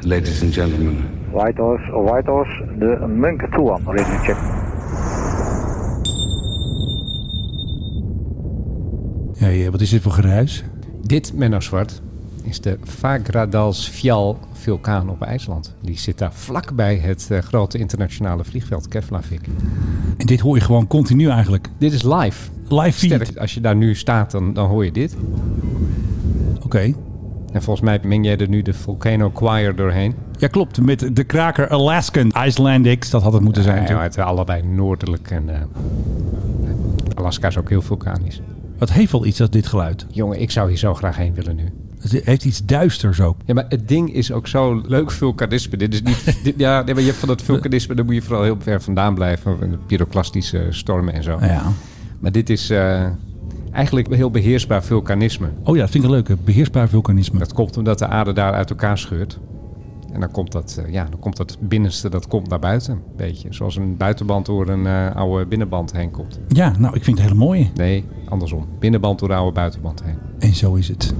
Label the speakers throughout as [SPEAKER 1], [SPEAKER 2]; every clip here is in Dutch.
[SPEAKER 1] ladies and gentlemen.
[SPEAKER 2] White Horse, White Horse, de Munk 2-1, ready check.
[SPEAKER 3] Hey, eh, wat is dit voor geruis?
[SPEAKER 4] Dit, Menno Zwart, is de Fagradalsfjall vulkaan op IJsland. Die zit daar vlakbij het eh, grote internationale vliegveld Keflavik.
[SPEAKER 3] En dit hoor je gewoon continu eigenlijk.
[SPEAKER 4] Dit is live.
[SPEAKER 3] Live feed.
[SPEAKER 4] Sterk, als je daar nu staat, dan, dan hoor je dit.
[SPEAKER 3] Oké.
[SPEAKER 4] En volgens mij meng jij er nu de Volcano Choir doorheen.
[SPEAKER 3] Ja, klopt. Met de kraker Alaskan Icelandics. Dat had het moeten zijn.
[SPEAKER 4] Nou Ja,
[SPEAKER 3] natuurlijk.
[SPEAKER 4] het allebei noordelijk en eh, Alaska is ook heel vulkanisch.
[SPEAKER 3] Wat heeft wel iets als dit geluid.
[SPEAKER 4] Jongen, ik zou hier zo graag heen willen nu.
[SPEAKER 3] Het heeft iets duisters ook.
[SPEAKER 4] Ja, maar het ding is ook zo leuk vulkanisme. Dit is niet. dit- ja, nee, maar je hebt van dat vulkanisme, daar moet je vooral heel ver vandaan blijven. Van de pyroclastische stormen en zo.
[SPEAKER 3] Nou ja.
[SPEAKER 4] Maar dit is eh, eigenlijk heel beheersbaar vulkanisme.
[SPEAKER 3] Oh ja, dat vind ik een leuke. Beheersbaar vulkanisme.
[SPEAKER 4] Dat komt omdat de aarde daar uit elkaar scheurt. En dan komt dat, eh, ja, dan komt dat binnenste dat komt naar buiten. Een beetje. Zoals een buitenband door een eh, oude binnenband heen komt.
[SPEAKER 3] Ja, nou, ik vind het hele mooie.
[SPEAKER 4] Nee, andersom. Binnenband door de oude buitenband heen.
[SPEAKER 3] En zo is het.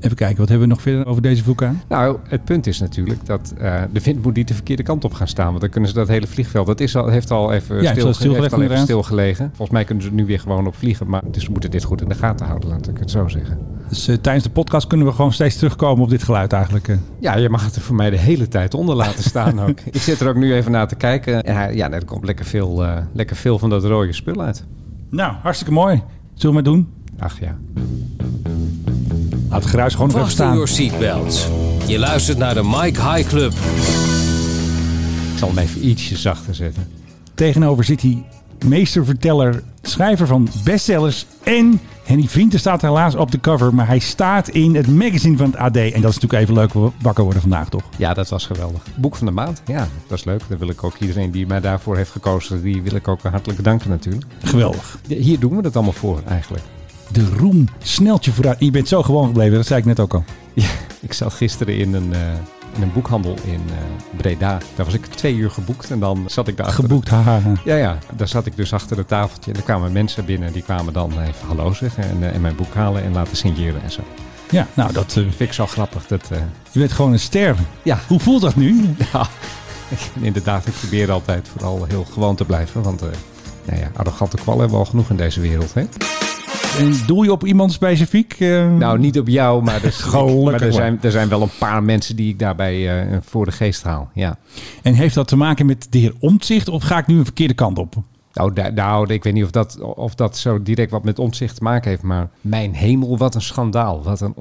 [SPEAKER 3] Even kijken, wat hebben we nog verder over deze vulkaan?
[SPEAKER 4] Nou, het punt is natuurlijk dat eh, de wind moet niet de verkeerde kant op gaan staan. Want dan kunnen ze dat hele vliegveld, dat is al, heeft al even,
[SPEAKER 3] heeft al
[SPEAKER 4] stil,
[SPEAKER 3] stilgelegd,
[SPEAKER 4] heeft al even
[SPEAKER 3] inderdaad.
[SPEAKER 4] stilgelegen. Volgens mij kunnen ze er nu weer gewoon op vliegen. Maar dus we moeten dit goed in de gaten houden, laat ik het zo zeggen.
[SPEAKER 3] Dus eh, tijdens de podcast kunnen we gewoon steeds terugkomen op dit geluid eigenlijk. eh.
[SPEAKER 4] Ja, je mag het er voor mij de hele tijd onder laten staan ook. Ik zit er ook nu even naar te kijken. En hij- ja, nee, er komt lekker veel, eh, lekker veel van dat rode spul uit.
[SPEAKER 3] Nou, hartstikke mooi. Zullen we maar doen?
[SPEAKER 4] Ach ja.
[SPEAKER 3] Laat het geruis gewoon nog even
[SPEAKER 5] Fasten
[SPEAKER 3] staan.
[SPEAKER 5] your seatbelts. Je luistert naar de Mike High Club.
[SPEAKER 4] Ik zal hem even ietsje zachter zetten.
[SPEAKER 3] Tegenover zit hij meesterverteller, schrijver van bestsellers en Henny Vrienden staat helaas op de cover, maar hij staat in het magazine van het AD. En dat is natuurlijk even leuk we wakker worden vandaag, toch?
[SPEAKER 4] Ja, dat was geweldig. Boek van de maand. Ja, dat is leuk. Dan wil ik ook iedereen die mij daarvoor heeft gekozen, die wil ik ook hartelijk danken natuurlijk.
[SPEAKER 3] Geweldig.
[SPEAKER 4] Ja, Hier doen we dat allemaal voor eigenlijk.
[SPEAKER 3] De roem snelt je vooruit. En je bent zo gewoon gebleven, dat zei ik net ook al.
[SPEAKER 4] Ja, ik zat gisteren in een, eh, in een boekhandel in eh, Breda. Daar was ik twee uur geboekt en dan zat ik daar achter-
[SPEAKER 3] Geboekt, haha.
[SPEAKER 4] Ja, ja, daar zat ik dus achter het tafeltje. En er kwamen mensen binnen die kwamen dan even hallo zeggen en, eh, en mijn boek halen en laten signeren en zo.
[SPEAKER 3] Ja, nou, dat, eh,
[SPEAKER 4] Vind ik zo grappig. Dat, eh,
[SPEAKER 3] je bent gewoon een ster.
[SPEAKER 4] ja,
[SPEAKER 3] Hoe voelt dat nu?
[SPEAKER 4] Ja, en inderdaad, ik probeer altijd vooral heel gewoon te blijven. Want eh, nou ja, arrogante kwallen hebben we al genoeg in deze wereld. Hè?
[SPEAKER 3] En doel je op iemand specifiek? eh?
[SPEAKER 4] Nou, niet op jou, maar, dus,
[SPEAKER 3] Gelukkig
[SPEAKER 4] maar er,
[SPEAKER 3] maar.
[SPEAKER 4] zijn, er zijn wel een paar mensen die ik daarbij eh, voor de geest haal. Ja.
[SPEAKER 3] En heeft dat te maken met de heer Omtzigt of ga ik nu een verkeerde kant op?
[SPEAKER 4] Nou, da- nou, ik weet niet of dat, of dat zo direct wat met omzicht te maken heeft. Maar mijn hemel, wat een schandaal. Wat een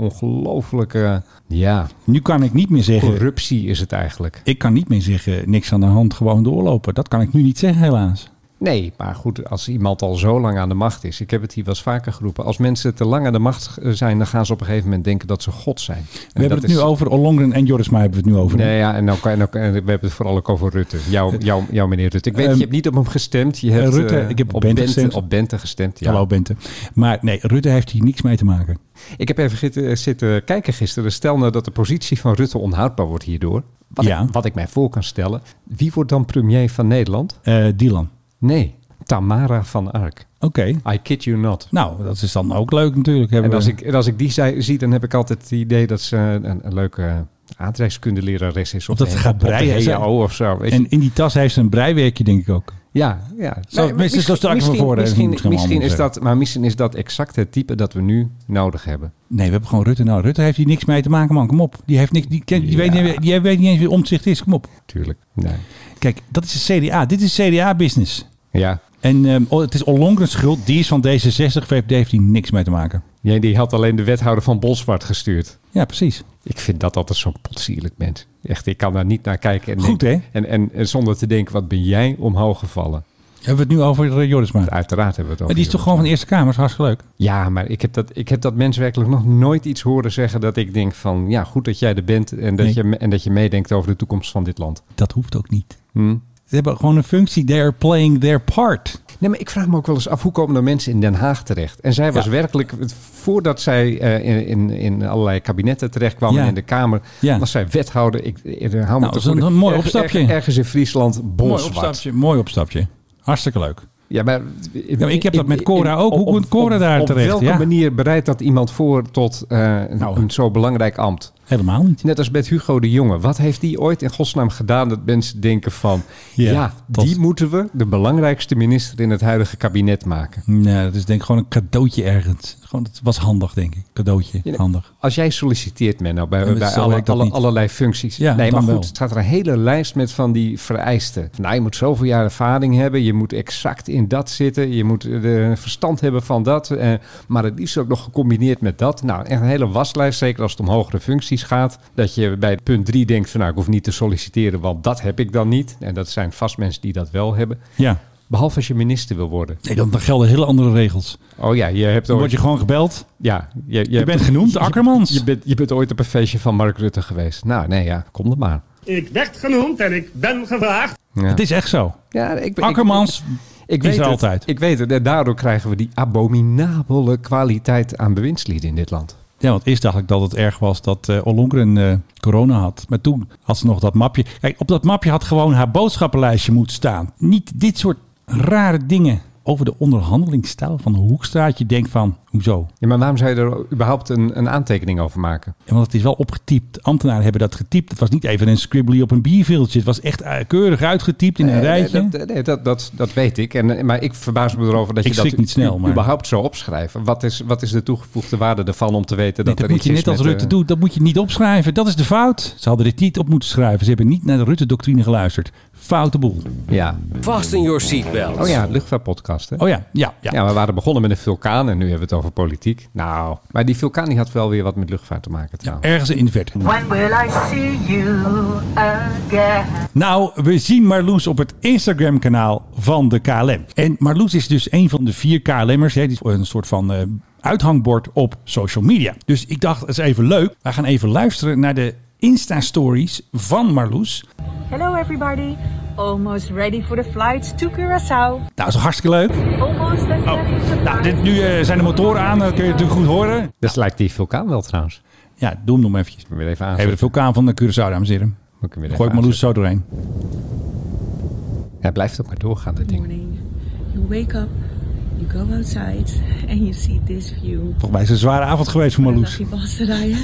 [SPEAKER 4] ongelofelijke ja,
[SPEAKER 3] Nu kan ik niet meer zeggen.
[SPEAKER 4] corruptie is het eigenlijk.
[SPEAKER 3] Ik kan niet meer zeggen niks aan de hand, gewoon doorlopen. Dat kan ik nu niet zeggen, helaas.
[SPEAKER 4] Nee, maar goed, als iemand al zo lang aan de macht is. Ik heb het hier wel eens vaker geroepen. Als mensen te lang aan de macht eh, zijn, dan gaan ze op een gegeven moment denken dat ze God zijn. En
[SPEAKER 3] We hebben
[SPEAKER 4] dat
[SPEAKER 3] het nu
[SPEAKER 4] is-
[SPEAKER 3] over Ollongren en Joris, maar hebben we het nu over.
[SPEAKER 4] Nee, ja, en, ook, en, ook, en we hebben het vooral ook over Rutte. Jouw, jouw, jouw meneer Rutte. Ik weet,
[SPEAKER 3] Ehm,
[SPEAKER 4] je hebt niet op hem gestemd. Je hebt,
[SPEAKER 3] Rutte,
[SPEAKER 4] eh,
[SPEAKER 3] ik heb op
[SPEAKER 4] op
[SPEAKER 3] Bente gestemd.
[SPEAKER 4] Op Bente gestemd, ja.
[SPEAKER 3] Hallo Bente. Maar nee, Rutte heeft hier niks mee te maken.
[SPEAKER 4] Ik heb even git- eh, zitten kijken gisteren. Stel nou dat de positie van Rutte onhoudbaar wordt hierdoor. Wat,
[SPEAKER 3] Ja.
[SPEAKER 4] ik, wat ik mij voor kan stellen. Wie wordt dan premier van Nederland?
[SPEAKER 3] Eh, Dylan.
[SPEAKER 4] Nee, Tamara van Ark.
[SPEAKER 3] Oké.
[SPEAKER 4] I kid you not.
[SPEAKER 3] Nou, dat is dan ook leuk natuurlijk. Hebben
[SPEAKER 4] En als
[SPEAKER 3] we-
[SPEAKER 4] ik, en als ik die zij- zie, dan heb ik altijd het idee dat ze een, een leuke aardrijkskundelerares is. Of,
[SPEAKER 3] dat ze
[SPEAKER 4] een-
[SPEAKER 3] gaat
[SPEAKER 4] op de
[SPEAKER 3] breien, hè?
[SPEAKER 4] HAO of zo. weet je.
[SPEAKER 3] En in die tas heeft ze een breiwerkje, denk ik ook.
[SPEAKER 4] ja, ja.
[SPEAKER 3] Zo,
[SPEAKER 4] maar
[SPEAKER 3] mensen, zo strak
[SPEAKER 4] misschien,
[SPEAKER 3] van voren, dat
[SPEAKER 4] Misschien,
[SPEAKER 3] moet ik hem
[SPEAKER 4] misschien
[SPEAKER 3] allemaal
[SPEAKER 4] is dat, maar misschien is dat exact het type dat we nu nodig hebben.
[SPEAKER 3] Nee, we hebben gewoon Rutte. Nou, Rutte heeft hier niks mee te maken, man. Kom op. Die, heeft niks, die, kent- die, weet, niet- die weet niet eens wie omzicht is. Kom op.
[SPEAKER 4] Tuurlijk. Nee.
[SPEAKER 3] Kijk, dat is de CDA. Dit is CDA-business.
[SPEAKER 4] Ja.
[SPEAKER 3] En ehm, oh, het is Ollongren's schuld. Die is van D66. VVD heeft hier niks mee te maken.
[SPEAKER 4] Jij die had alleen de wethouder van Bolsward gestuurd.
[SPEAKER 3] Ja, precies.
[SPEAKER 4] Ik vind dat altijd zo'n potsierlijk mens. Echt, ik kan daar niet naar kijken. En
[SPEAKER 3] Goed,
[SPEAKER 4] denk-
[SPEAKER 3] hè?
[SPEAKER 4] En, en, en zonder te denken, wat ben jij omhoog gevallen?
[SPEAKER 3] Hebben we het nu over eh, Jorisma? Maar
[SPEAKER 4] Uiteraard hebben we het over.
[SPEAKER 3] die is toch gewoon van de Eerste Kamer? is hartstikke leuk.
[SPEAKER 4] Ja, maar ik heb, dat, ik heb dat mens werkelijk nog nooit iets horen zeggen dat ik denk van... ja, goed dat jij er bent en dat,
[SPEAKER 3] Nee.
[SPEAKER 4] je, me- en dat je meedenkt over de toekomst van dit land.
[SPEAKER 3] Dat hoeft ook niet.
[SPEAKER 4] Hm?
[SPEAKER 3] Ze hebben gewoon een functie. They are playing their part.
[SPEAKER 4] Nee, maar ik vraag me ook wel eens af, hoe komen er mensen in Den Haag terecht? En zij was
[SPEAKER 3] Ja.
[SPEAKER 4] werkelijk, voordat zij eh, in, in, in allerlei kabinetten terecht kwam
[SPEAKER 3] Ja.
[SPEAKER 4] en in de Kamer...
[SPEAKER 3] Ja.
[SPEAKER 4] was zij wethouder, ik, ik, hou me
[SPEAKER 3] dat
[SPEAKER 4] te
[SPEAKER 3] is een-
[SPEAKER 4] goede,
[SPEAKER 3] een mooi
[SPEAKER 4] erg- erg-
[SPEAKER 3] opstapje.
[SPEAKER 4] ergens in Friesland,
[SPEAKER 3] Mooi
[SPEAKER 4] Bolsward.
[SPEAKER 3] opstapje. Mooi opstapje. Hartstikke leuk.
[SPEAKER 4] Ja, maar,
[SPEAKER 3] maar ik heb dat met Cora ook. Hoe
[SPEAKER 4] op-
[SPEAKER 3] komt Cora
[SPEAKER 4] op-
[SPEAKER 3] daar
[SPEAKER 4] op
[SPEAKER 3] terecht?
[SPEAKER 4] welke
[SPEAKER 3] Ja.
[SPEAKER 4] manier bereidt dat iemand voor tot eh, een-
[SPEAKER 3] Nou.
[SPEAKER 4] een zo belangrijk ambt?
[SPEAKER 3] Helemaal niet.
[SPEAKER 4] Net als met Hugo de Jonge. Wat heeft die ooit in godsnaam gedaan dat mensen denken van...
[SPEAKER 3] Ja,
[SPEAKER 4] Ja,
[SPEAKER 3] dat-
[SPEAKER 4] die moeten we de belangrijkste minister in het huidige kabinet maken.
[SPEAKER 3] Nee, dat is denk ik gewoon een cadeautje ergens. Gewoon, het was handig, denk ik. Cadeautje,
[SPEAKER 4] Ja,
[SPEAKER 3] handig.
[SPEAKER 4] Als jij solliciteert, Menno, bij,
[SPEAKER 3] maar
[SPEAKER 4] bij
[SPEAKER 3] zo
[SPEAKER 4] alle,
[SPEAKER 3] werkt dat
[SPEAKER 4] alle-
[SPEAKER 3] niet.
[SPEAKER 4] allerlei functies.
[SPEAKER 3] Ja,
[SPEAKER 4] nee,
[SPEAKER 3] dan
[SPEAKER 4] maar goed,
[SPEAKER 3] wel.
[SPEAKER 4] het staat er een hele lijst met van die vereisten. Nou, je moet zoveel jaar ervaring hebben. Je moet exact in dat zitten. Je moet eh, de verstand hebben van dat. eh, maar het liefst ook nog gecombineerd met dat. Nou, echt een hele waslijst. Zeker als het om hogere functies gaat. Dat je bij punt 3 denkt van, nou, ik hoef niet te solliciteren, want dat heb ik dan niet. En dat zijn vast mensen die dat wel hebben.
[SPEAKER 3] Ja.
[SPEAKER 4] Behalve als je minister wil worden.
[SPEAKER 3] Nee, dan, dan gelden hele andere regels.
[SPEAKER 4] Oh ja, je hebt
[SPEAKER 3] Dan
[SPEAKER 4] ooit...
[SPEAKER 3] word je gewoon gebeld.
[SPEAKER 4] ja, je, je,
[SPEAKER 3] Je
[SPEAKER 4] hebt-
[SPEAKER 3] bent genoemd Akkermans.
[SPEAKER 4] Je bent, je bent ooit op een feestje van Mark Rutte geweest. Nou, nee, ja, kom er maar.
[SPEAKER 1] Ik werd genoemd en ik ben gevraagd.
[SPEAKER 4] Ja.
[SPEAKER 3] Het is echt zo.
[SPEAKER 4] Ja, ik, ik-
[SPEAKER 3] Akkermans
[SPEAKER 4] ik
[SPEAKER 3] is
[SPEAKER 4] weet
[SPEAKER 3] er
[SPEAKER 4] het.
[SPEAKER 3] altijd.
[SPEAKER 4] Ik weet het. En daardoor krijgen we die abominabele kwaliteit aan bewindslieden in dit land.
[SPEAKER 3] Ja, want eerst dacht ik dat het erg was dat eh Ollongren eh, corona had. Maar toen had ze nog dat mapje. Kijk, op dat mapje had gewoon haar boodschappenlijstje moeten staan. Niet dit soort rare dingen over de onderhandelingsstijl van de Hoekstraat. Je denkt van, hoezo?
[SPEAKER 4] Ja, maar waarom zou je er überhaupt een, een aantekening over maken?
[SPEAKER 3] Ja, want het is wel opgetypt. Ambtenaren hebben dat getypt. Het was niet even een scribbly op een bierveeltje. Het was echt eh, keurig uitgetypt in een rijtje.
[SPEAKER 4] Nee, dat, nee, dat, dat, dat weet ik. En, eh, maar ik verbaas me erover dat
[SPEAKER 3] Ik
[SPEAKER 4] je dat
[SPEAKER 3] schrik niet snel,
[SPEAKER 4] u-
[SPEAKER 3] maar-
[SPEAKER 4] überhaupt zo opschrijft. Wat is, wat is de toegevoegde waarde ervan om te weten
[SPEAKER 3] Nee,
[SPEAKER 4] dat
[SPEAKER 3] dat
[SPEAKER 4] er
[SPEAKER 3] moet
[SPEAKER 4] iets
[SPEAKER 3] je net
[SPEAKER 4] is
[SPEAKER 3] als
[SPEAKER 4] met,
[SPEAKER 3] Rutte
[SPEAKER 4] eh,
[SPEAKER 3] doet. Dat moet je niet opschrijven. Dat is de fout. Ze hadden dit niet op moeten schrijven. Ze hebben niet naar de Rutte-doctrine geluisterd. Foute boel.
[SPEAKER 4] Ja.
[SPEAKER 5] Vast in your seatbelt.
[SPEAKER 4] Oh ja, luchtvaartpodcast. Hè?
[SPEAKER 3] Oh ja, ja, ja.
[SPEAKER 4] Ja, we waren begonnen met een vulkaan en nu hebben we het over politiek. Nou, maar die vulkaan die had wel weer wat met luchtvaart te maken trouwens.
[SPEAKER 3] Ergens in de verte.
[SPEAKER 6] When will I see you again?
[SPEAKER 3] Nou, we zien Marloes op het Instagram-kanaal van de KLM. En Marloes is dus een van de vier KLM'ers. Hè, die is een soort van eh, uithangbord op social media. Dus ik dacht, het is even leuk. We gaan even luisteren naar de Insta-stories van Marloes.
[SPEAKER 6] Hello, everybody. Almost ready for the flight to Curaçao.
[SPEAKER 3] Nou, dat is hartstikke leuk.
[SPEAKER 6] Almost as ready as the
[SPEAKER 3] Nou,
[SPEAKER 6] flight.
[SPEAKER 3] dit, nu eh, zijn de motoren aan, dat kun je natuurlijk goed horen.
[SPEAKER 4] Dus lijkt die vulkaan wel trouwens.
[SPEAKER 3] Ja, doe hem nog maar eventjes.
[SPEAKER 4] Moet ik hem weer even aan.
[SPEAKER 3] Even de vulkaan van de Curaçao, dames en heren. Gooi ik Marloes zo doorheen.
[SPEAKER 4] Hij blijft ook maar doorgaan, dat ding.
[SPEAKER 6] morning, you wake up, you go outside, and you see this view.
[SPEAKER 3] Volgens mij is het een zware avond geweest voor
[SPEAKER 6] What a
[SPEAKER 3] Marloes.
[SPEAKER 6] lucky bastard I am.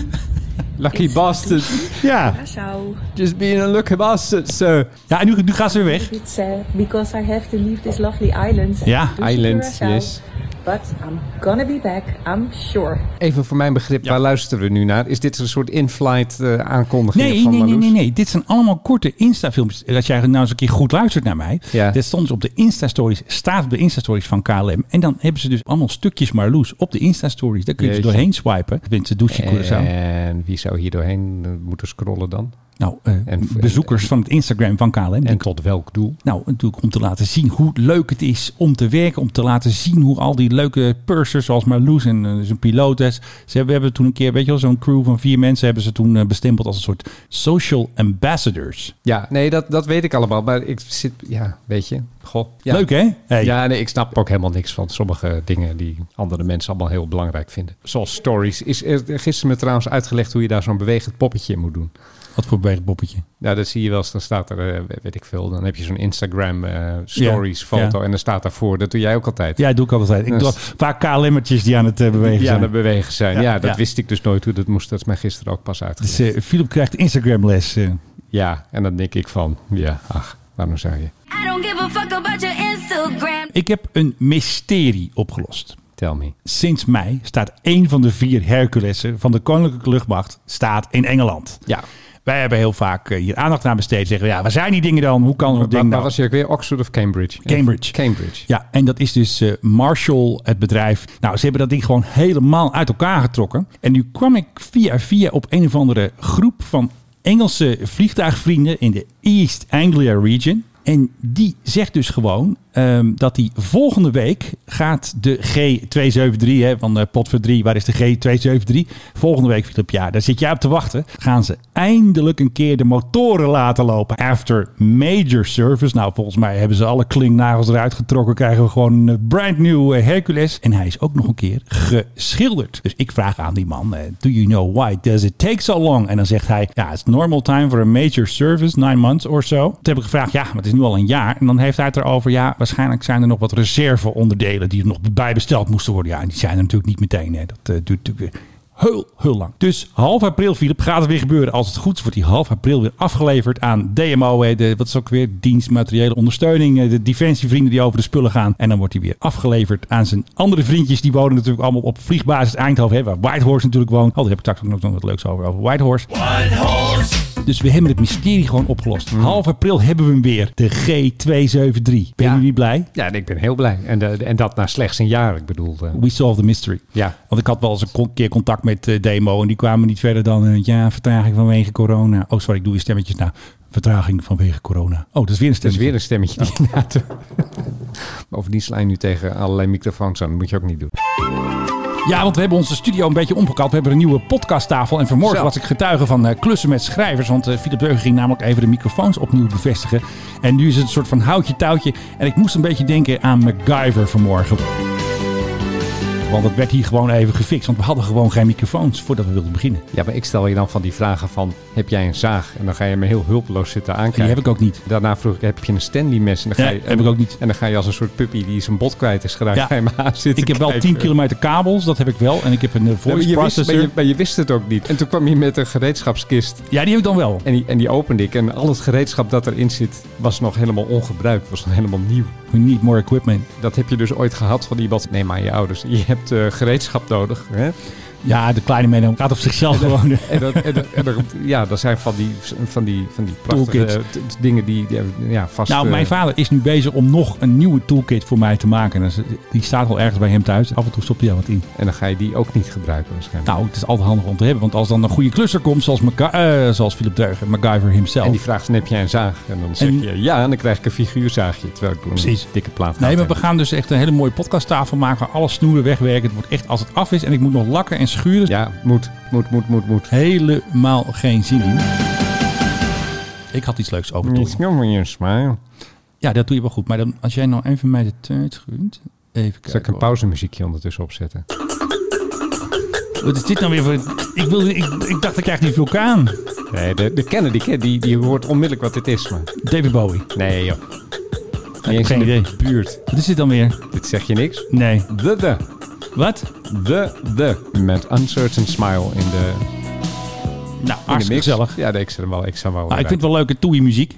[SPEAKER 4] Lucky bastard.
[SPEAKER 3] Ja,
[SPEAKER 6] Curaçao.
[SPEAKER 4] Just being a lucky bastard, sir.
[SPEAKER 3] ja en nu, nu gaat ze weer weg.
[SPEAKER 6] It's sad eh, because I have to leave this lovely island.
[SPEAKER 3] Ja,
[SPEAKER 6] to
[SPEAKER 4] island,
[SPEAKER 6] Curaçao.
[SPEAKER 4] yes.
[SPEAKER 6] But I'm gonna be back, I'm sure.
[SPEAKER 4] Even voor mijn begrip, waar luisteren we nu naar? Is dit een soort in-flight eh, aankondiging
[SPEAKER 3] Nee,
[SPEAKER 4] van
[SPEAKER 3] nee, nee,
[SPEAKER 4] Marloes?
[SPEAKER 3] nee, nee. Dit zijn allemaal korte Insta-filmpjes. Dat jij nou eens een keer goed luistert naar mij.
[SPEAKER 4] Ja.
[SPEAKER 3] Dit stond dus op de Insta-stories. Staat op de Insta-stories van KLM. En dan hebben ze dus allemaal stukjes Marloes op de Insta-stories. Daar kun je dus
[SPEAKER 4] Jeetje. Eh,
[SPEAKER 3] doorheen swipen. Wint ze douche Curaçao.
[SPEAKER 4] En wie zou hier doorheen eh, moeten scrollen dan?
[SPEAKER 3] nou, eh,
[SPEAKER 4] en-
[SPEAKER 3] bezoekers van het Instagram van KLM. die
[SPEAKER 4] En tot welk doel?
[SPEAKER 3] Nou, natuurlijk om te laten zien hoe leuk het is om te werken. Om te laten zien hoe al die leuke pursers zoals Marloes en eh, zijn pilotes. Ze hebben, we hebben toen een keer, weet je wel, zo'n crew van vier mensen hebben ze toen eh, bestempeld als een soort social ambassadors.
[SPEAKER 4] Ja, nee, dat, dat weet ik allemaal. Maar ik zit, ja, weet je. Goh, ja.
[SPEAKER 3] Leuk hè? Hey.
[SPEAKER 4] Ja, nee, ik snap ook helemaal niks van sommige dingen die andere mensen allemaal heel belangrijk vinden. Zoals stories. Is er gisteren me trouwens uitgelegd hoe je daar zo'n bewegend poppetje in moet doen.
[SPEAKER 3] Wat voor bergboppetje.
[SPEAKER 4] Nou, dat zie je wel eens. Dan staat er, eh, weet ik veel, dan heb je zo'n Instagram eh, stories
[SPEAKER 3] Ja,
[SPEAKER 4] foto
[SPEAKER 3] ja.
[SPEAKER 4] en dan staat daarvoor. Dat doe jij ook altijd.
[SPEAKER 3] Ja, doe ik altijd. Ik
[SPEAKER 4] Dus-
[SPEAKER 3] doe al- vaak KLM'ertjes die aan het eh, bewegen
[SPEAKER 4] Ja,
[SPEAKER 3] zijn.
[SPEAKER 4] dat bewegen zijn.
[SPEAKER 3] Ja,
[SPEAKER 4] Ja, dat
[SPEAKER 3] ja.
[SPEAKER 4] wist ik dus nooit hoe dat moest. Dat is mij gisteren ook pas uitgelegd.
[SPEAKER 3] Dus eh, Philip krijgt eh. Instagram les.
[SPEAKER 4] Ja, en dan denk ik van, ja, ach, waarom zou je?
[SPEAKER 7] I don't give a fuck about your Instagram.
[SPEAKER 3] Ik heb een mysterie opgelost.
[SPEAKER 4] Tell me.
[SPEAKER 3] Sinds mei staat één van de vier Herculessen van de Koninklijke Luchtmacht staat in Engeland.
[SPEAKER 4] Ja.
[SPEAKER 3] Wij hebben heel vaak eh, hier aandacht aan besteed. Zeggen we, ja, waar zijn die dingen dan? Hoe kan zo'n
[SPEAKER 4] Waar,
[SPEAKER 3] ding
[SPEAKER 4] waar
[SPEAKER 3] nou?
[SPEAKER 4] was je ook weer? Oxford of Cambridge?
[SPEAKER 3] Cambridge.
[SPEAKER 4] Cambridge.
[SPEAKER 3] Ja, en dat is dus eh, Marshall, het bedrijf. Nou, ze hebben dat ding gewoon helemaal uit elkaar getrokken. En nu kwam ik via via op een of andere groep van Engelse vliegtuigvrienden in de East Anglia region. En die zegt dus gewoon ehm, dat die volgende week gaat de G273 hè, van de pot voor 3. Waar is de G273? Volgende week, Philip, ja, daar zit jij op te wachten. Gaan ze eindelijk een keer de motoren laten lopen. After major service. Nou, volgens mij hebben ze alle klingnagels eruit getrokken. Krijgen we gewoon een brand new eh, Hercules. En hij is ook nog een keer geschilderd. Dus ik vraag aan die man: eh, Do you know why does it take so long? En dan zegt hij: Ja, it's normal time for a major service, nine months or so. Toen heb ik gevraagd: Ja, maar het is nu al een jaar. En dan heeft hij het erover: Ja, waarschijnlijk zijn er nog wat reserveonderdelen die er nog bijbesteld moesten worden. Ja, en die zijn er natuurlijk niet meteen. Hè. Dat eh, duurt natuurlijk. weer heel, heel lang. Dus half april, Philip, gaat het weer gebeuren. Als het goed is, wordt die half april weer afgeleverd aan DMO. hè, De, wat is ook weer? Dienst materiële ondersteuning. eh, De defensievrienden die over de spullen gaan. En dan wordt hij weer afgeleverd aan zijn andere vriendjes. Die wonen natuurlijk allemaal op vliegbasis Eindhoven. Hè, waar Whitehorse natuurlijk woont. Oh, daar heb ik straks ook nog wat leuks over. Over Whitehorse. Dus we hebben het mysterie gewoon opgelost. Half april hebben we hem weer. De G273. Ben
[SPEAKER 4] Ja.
[SPEAKER 3] je niet blij?
[SPEAKER 4] Ja, en ik ben heel blij. En, eh, en dat na slechts een jaar, ik bedoel. eh.
[SPEAKER 3] We solved the mystery.
[SPEAKER 4] Ja.
[SPEAKER 3] Want ik had wel eens een kon- keer contact met eh, Demo. En die kwamen niet verder dan. eh, ja, vertraging vanwege corona. Oh, sorry, ik doe je stemmetjes na. Vertraging vanwege corona. Oh, dat is weer een
[SPEAKER 4] Het is
[SPEAKER 3] stemmetje.
[SPEAKER 4] weer een stemmetje die na te... Bovendien sla je nu tegen allerlei microfoons aan. Dat moet je ook niet doen.
[SPEAKER 3] Ja, want we hebben onze studio een beetje omgekald. We hebben een nieuwe podcasttafel. En vanmorgen
[SPEAKER 4] Zo.
[SPEAKER 3] was ik getuige van eh, klussen met schrijvers. Want eh, Philip Deugen ging namelijk even de microfoons opnieuw bevestigen. En nu is het een soort van houtje touwtje. En ik moest een beetje denken aan MacGyver vanmorgen. Want het werd hier gewoon even gefixt. Want we hadden gewoon geen microfoons voordat we wilden beginnen.
[SPEAKER 4] Ja, maar ik stel je dan van die vragen van... Heb jij een zaag? En dan ga je me heel hulpeloos zitten aankijken.
[SPEAKER 3] Die heb ik ook niet.
[SPEAKER 4] Daarna vroeg ik, heb je een Stanley mes? En dan
[SPEAKER 3] Ja,
[SPEAKER 4] ga je,
[SPEAKER 3] heb ik ook niet.
[SPEAKER 4] En dan ga je als een soort puppy die zijn bot kwijt is geraakt.
[SPEAKER 3] Ja.
[SPEAKER 4] Ga je me aan zitten
[SPEAKER 3] Ik heb wel
[SPEAKER 4] kijken.
[SPEAKER 3] 10 kilometer kabels, dat heb ik wel. En ik heb een eh,
[SPEAKER 4] Ja, maar
[SPEAKER 3] voice
[SPEAKER 4] je wist, maar,
[SPEAKER 3] processor.
[SPEAKER 4] je, maar je wist het ook niet. En toen kwam je met een gereedschapskist.
[SPEAKER 3] Ja, die heb ik dan wel.
[SPEAKER 4] En die, en die opende ik. En al het gereedschap dat erin zit, was nog helemaal ongebruikt. Was nog helemaal nieuw.
[SPEAKER 3] We need more equipment.
[SPEAKER 4] Dat heb je dus ooit gehad van iemand. Nee, maar je ouders. Je hebt eh, gereedschap nodig. Hè?
[SPEAKER 3] Ja, de kleine meneer gaat op zichzelf gewoon.
[SPEAKER 4] En, dat, en, dat- en dat- ja, dat zijn van die, van die, van die prachtige
[SPEAKER 3] Toolkits.
[SPEAKER 4] eh, t- t- dingen die, die ja, vast...
[SPEAKER 3] Nou,
[SPEAKER 4] eh,
[SPEAKER 3] mijn vader is nu bezig om nog een nieuwe toolkit voor mij te maken. Dus die staat wel ergens bij hem thuis. Af en toe stopt hij daar wat in.
[SPEAKER 4] en dan ga je die ook niet gebruiken waarschijnlijk.
[SPEAKER 3] Nou, het is altijd handig om te hebben. Want als dan een goede klusser komt, zoals, Maca- eh, zoals Philip Deugen, MacGyver himself.
[SPEAKER 4] en die vraagt, heb jij een zaag? En dan zeg
[SPEAKER 3] nou. En-
[SPEAKER 4] je, ja, en dan krijg ik een figuurzaagje. Terwijl ik een
[SPEAKER 3] Precies.
[SPEAKER 4] dikke plaat
[SPEAKER 3] Nee,
[SPEAKER 4] had.
[SPEAKER 3] maar we gaan dus echt een hele mooie podcasttafel maken. waar Alle snoeren wegwerken. Het wordt echt als het af is. En ik moet nog lakken en schuren.
[SPEAKER 4] Ja, moet, moet, moet, moet, moet.
[SPEAKER 3] Helemaal geen zin in. Ik had iets leuks over Tool.
[SPEAKER 4] Smile.
[SPEAKER 3] Ja, dat doe je wel goed. Maar dan, als jij nou even mij de tijd gunt. Even kijken.
[SPEAKER 4] Zal ik een
[SPEAKER 3] hoor.
[SPEAKER 4] pauzemuziekje ondertussen opzetten?
[SPEAKER 3] Wat is dit nou weer voor... Ik, wilde, ik, ik dacht, ik krijg die vulkaan.
[SPEAKER 4] Nee, de, de Kennedy, hè, die, die hoort onmiddellijk wat dit is. Maar...
[SPEAKER 3] David Bowie.
[SPEAKER 4] Nee, joh.
[SPEAKER 3] heb
[SPEAKER 4] Niet eens
[SPEAKER 3] geen
[SPEAKER 4] in de
[SPEAKER 3] idee.
[SPEAKER 4] buurt.
[SPEAKER 3] Wat is dit dan weer?
[SPEAKER 4] Dit zeg je niks?
[SPEAKER 3] Nee.
[SPEAKER 4] De, de,
[SPEAKER 3] Wat? Nou,
[SPEAKER 4] de, de. Met Uncertain Smile in de, in
[SPEAKER 3] Nou,
[SPEAKER 4] de mix.
[SPEAKER 3] hartstikke gezellig.
[SPEAKER 4] Ja, nee, ik zou hem wel, ik zou hem wel
[SPEAKER 3] Nou, ik vind
[SPEAKER 4] erbij.
[SPEAKER 3] het wel leuke Toei-muziek.